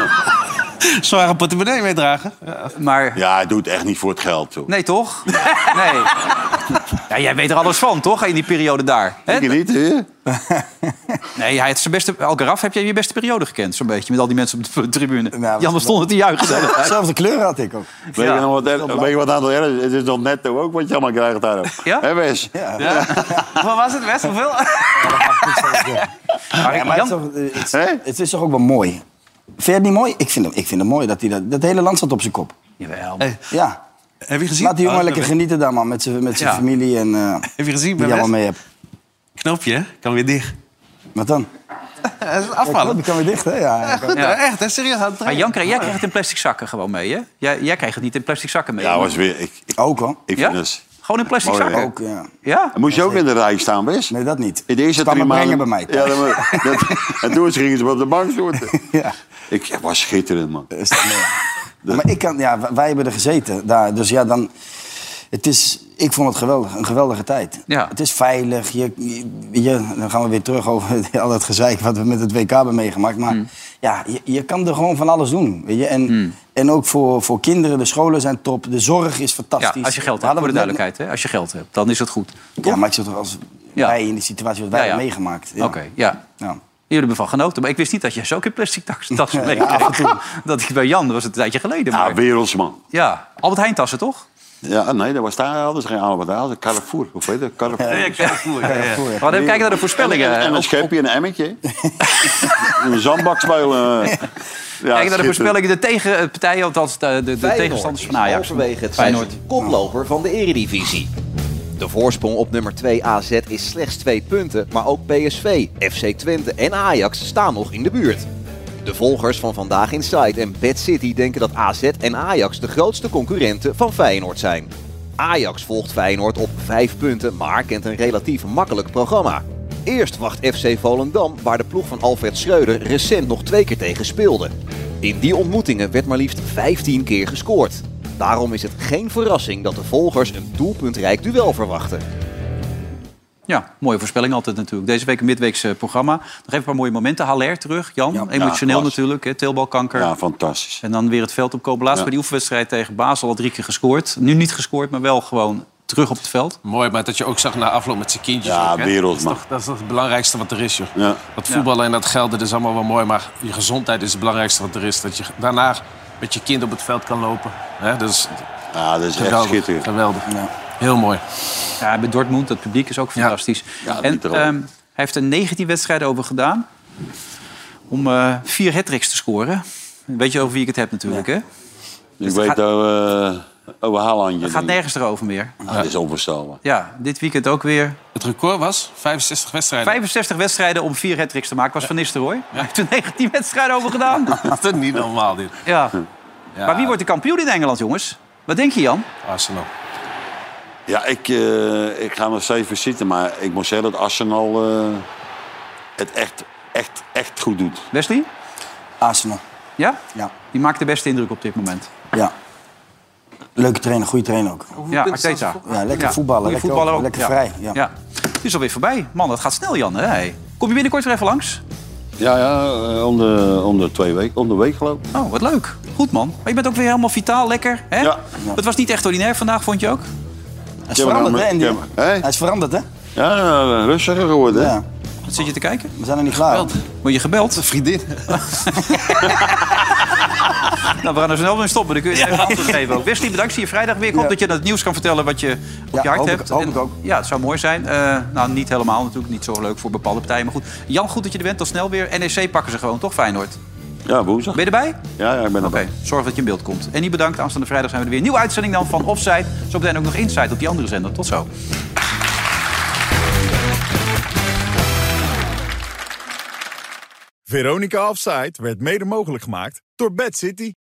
Zware portemonnee meedragen.
Maar...
Ja, hij doet echt niet voor het geld, joh.
Nee, toch? Nee. Ja, jij weet er alles van, toch? In die periode daar.
Ik niet, hè?
Nee, hij heeft zijn beste... Algaraf, heb jij je beste periode gekend? Zo'n beetje, met al die mensen op de tribune. Die anders stonden te juichen.
Zelfde kleur had ik ook.
Weet je nog wat er- weet je wat aan het erg is? Het is nog netto ook wat je allemaal krijgt daarop. Ja? Hè, Wes?
Wat was het, Wes? Hoeveel?
Ja, maar het, is toch- het is- het is toch ook wel mooi. Vind je het niet mooi? Ik vind het, ik vind het mooi dat hij dat, dat hele land staat op zijn kop.
Jawel.
Ja.
Heb je gezien?
Laat die
Ah,
jongen
Oh,
lekker
dat-
genieten daar, man. Met zijn met zijn
Ja.
familie en eh
Heb je gezien bij
die je
Wes?
allemaal mee hebt.
Knopje, hè? kan weer dicht.
Wat dan?
Hij is
Ja, klopt,
afvallen.
die kan weer dicht, hè? Ja, ja.
Ja, echt, hè? serieus. aan het
Maar
trainen.
Jan,
Ah.
kreeg- Ah, jij kreeg het in plastic zakken gewoon mee, hè? Jij, jij kreeg het niet in plastic zakken mee.
Ja, Dus- was weer... Ik, ik-
ook hoor.
Ik
Ja?
vind het...
Gewoon in plastic
Mooi, hè?
zakken?
Ook,
ja.
Ja?
Moest je ook in de rij staan, Wes?
Nee, dat niet.
In de eerste
Kwam
drie
me
maanden...
brengen bij mij.
Ja, dat, dat, en toen gingen ze me op de bank zitten.
Ja.
Ik het was schitterend, man.
Ja, Maar ik kan, ja, w- wij hebben er gezeten daar. Dus ja, dan. Het is, ik vond het geweldig, een geweldige tijd.
Ja.
Het is veilig. Je, je, je- dan gaan we weer terug over al dat gezeik wat we met het WK hebben meegemaakt. Maar
Hmm.
ja, je, je kan er gewoon van alles doen. Weet je? En, en ook voor, voor kinderen. De scholen zijn top. De zorg is fantastisch.
Ja, als je geld
Daar
hebt,
hadden
voor de
we het net-
duidelijkheid. Hè? Als je geld hebt, dan is het goed.
Ja, maar ik zit toch als
Ja.
wij in die situatie wat wij
Ja, ja.
hebben meegemaakt.
Oké, ja.
Ja.
Jullie hebben van genoten. Maar ik wist niet dat je zo ook in plastic tas- tassen mee
Ja, af en toe.
Dat ik bij Jan, dat was het een tijdje geleden.
Ja,
Maar...
Ah, wereldsman.
Ja, Albert Heijn tassen, toch?
Ja, nee, dat was daar hadden ze geen Albert Heijn. Carrefour, of weet je, Carrefour.
Ja, Carrefour, ja, ja. We hadden even kijken naar de voorspellingen.
En, en, en een schepje, een emmetje. een zandbak spelen. eh, Ja,
Kijk naar de
schitterend.
voorspelling. De tegenpartijen, althans de, de, de tegenstanders van Ajax.
Halverwege het seizoen koploper van de Eredivisie. De voorsprong op nummer 2 AZ is slechts 2 punten, maar ook PSV, FC Twente en Ajax staan nog in de buurt. De volgers van Vandaag Inside en Bad City denken dat AZ en Ajax de grootste concurrenten van Feyenoord zijn. Ajax volgt Feyenoord op 5 punten, maar kent een relatief makkelijk programma. Eerst wacht FC Volendam, waar de ploeg van Alfred Schreuder recent nog twee keer tegen speelde. In die ontmoetingen werd maar liefst 15 keer gescoord. Daarom is het geen verrassing dat de volgers een doelpuntrijk duel verwachten.
Ja, mooie voorspelling altijd natuurlijk. Deze week een midweeks eh, programma. Nog even een paar mooie momenten. Haller terug, Jan. Emotioneel
Ja,
natuurlijk, hè, teelbalkanker.
Ja, fantastisch.
En dan weer het veld opkomen. Laatst
Ja.
bij die oefenwedstrijd tegen Basel al drie keer gescoord. Nu niet gescoord, maar wel gewoon terug op het veld.
Mooi, maar dat je ook zag na afloop met zijn kindjes.
Ja,
ook, hè.
wereldsman.
Dat is, toch, dat is toch het belangrijkste wat er is, joh.
Ja.
Dat voetballen en dat geld, dat is allemaal wel mooi. Maar je gezondheid is het belangrijkste wat er is. Dat je daarna met je kind op het veld kan lopen. Hè, dus
Ja, dat is echt
Geweldig,
schitterend.
Geweldig.
Heel mooi. Ja, bij Dortmund, dat publiek is ook fantastisch. en ehm, hij heeft er 19 wedstrijden over gedaan om eh, vier hattricks te scoren. Weet je over wie ik het heb natuurlijk, hè?
Ik
Dus het
weet
gaat-
over, eh over Haalandje.
Het gaat
denk ik.
nergens erover meer.
Ah, Dat is onvoorstelbaar.
Ja, dit weekend ook weer.
Het record was 65 wedstrijden.
65 wedstrijden om vier hattricks te maken was Van Nistelrooy. Hij heeft er 19 wedstrijden over gedaan.
Dat is toch niet normaal, dit.
Ja. Maar wie wordt de kampioen in Engeland, jongens? Wat denk je, Jan?
Arsenal.
Ja, ik, eh, ik ga nog steeds voor zitten, maar ik moet zeggen dat Arsenal eh, het echt, echt, echt goed doet.
Wesley?
Arsenal.
Ja?
Ja.
Die maakt de beste indruk op dit moment.
Ja. Leuke trainer, goede trainer ook.
Ja, Arteta.
Ja, lekker voetballen.
Goeie
Lekker,
voetballer ook.
lekker
Ja.
vrij. Ja.
Ja. Het is alweer voorbij. Man, dat gaat snel, Jan. Hè? Hey. Kom je binnenkort weer even langs?
Ja, ja, eh, om de, om de twee weken, om de week geloof ik.
Oh, wat leuk. Goed, man. Maar je bent ook weer helemaal vitaal, lekker. Hè?
Ja.
Het was niet echt ordinair vandaag, vond je ook?
Hij is veranderd, hè? Andy? Hij is veranderd, hè?
Ja, eh, rustiger geworden.
Ja.
Wat zit je te kijken?
We zijn er niet klaar.
Word je gebeld? vriendin. nou, we gaan er snel mee stoppen. Dan kun je het even antwoord geven. ook. Wesley, bedankt. Zie je vrijdag weer. Ik hoop dat je het nieuws kan vertellen wat je op je hart
hoop ik-
hebt.
hoop
En-
ik ook.
Ja, het zou mooi zijn. Eh, nou, niet helemaal natuurlijk. Niet zo leuk voor bepaalde partijen. Maar goed. Jan, goed dat je er bent. Tot snel weer. NEC pakken ze gewoon, toch? Feyenoord.
Ja, woensdag.
Ben je erbij?
Ja, ja, ik ben
Oké,
erbij.
zorg dat je in beeld komt. En die bedankt. Aanstaande vrijdag zijn we er weer. Nieuwe uitzending dan van Offside. Zo meteen ook nog Inside op die andere zender. Tot zo.
Veronica Offside werd mede mogelijk gemaakt door Bad City.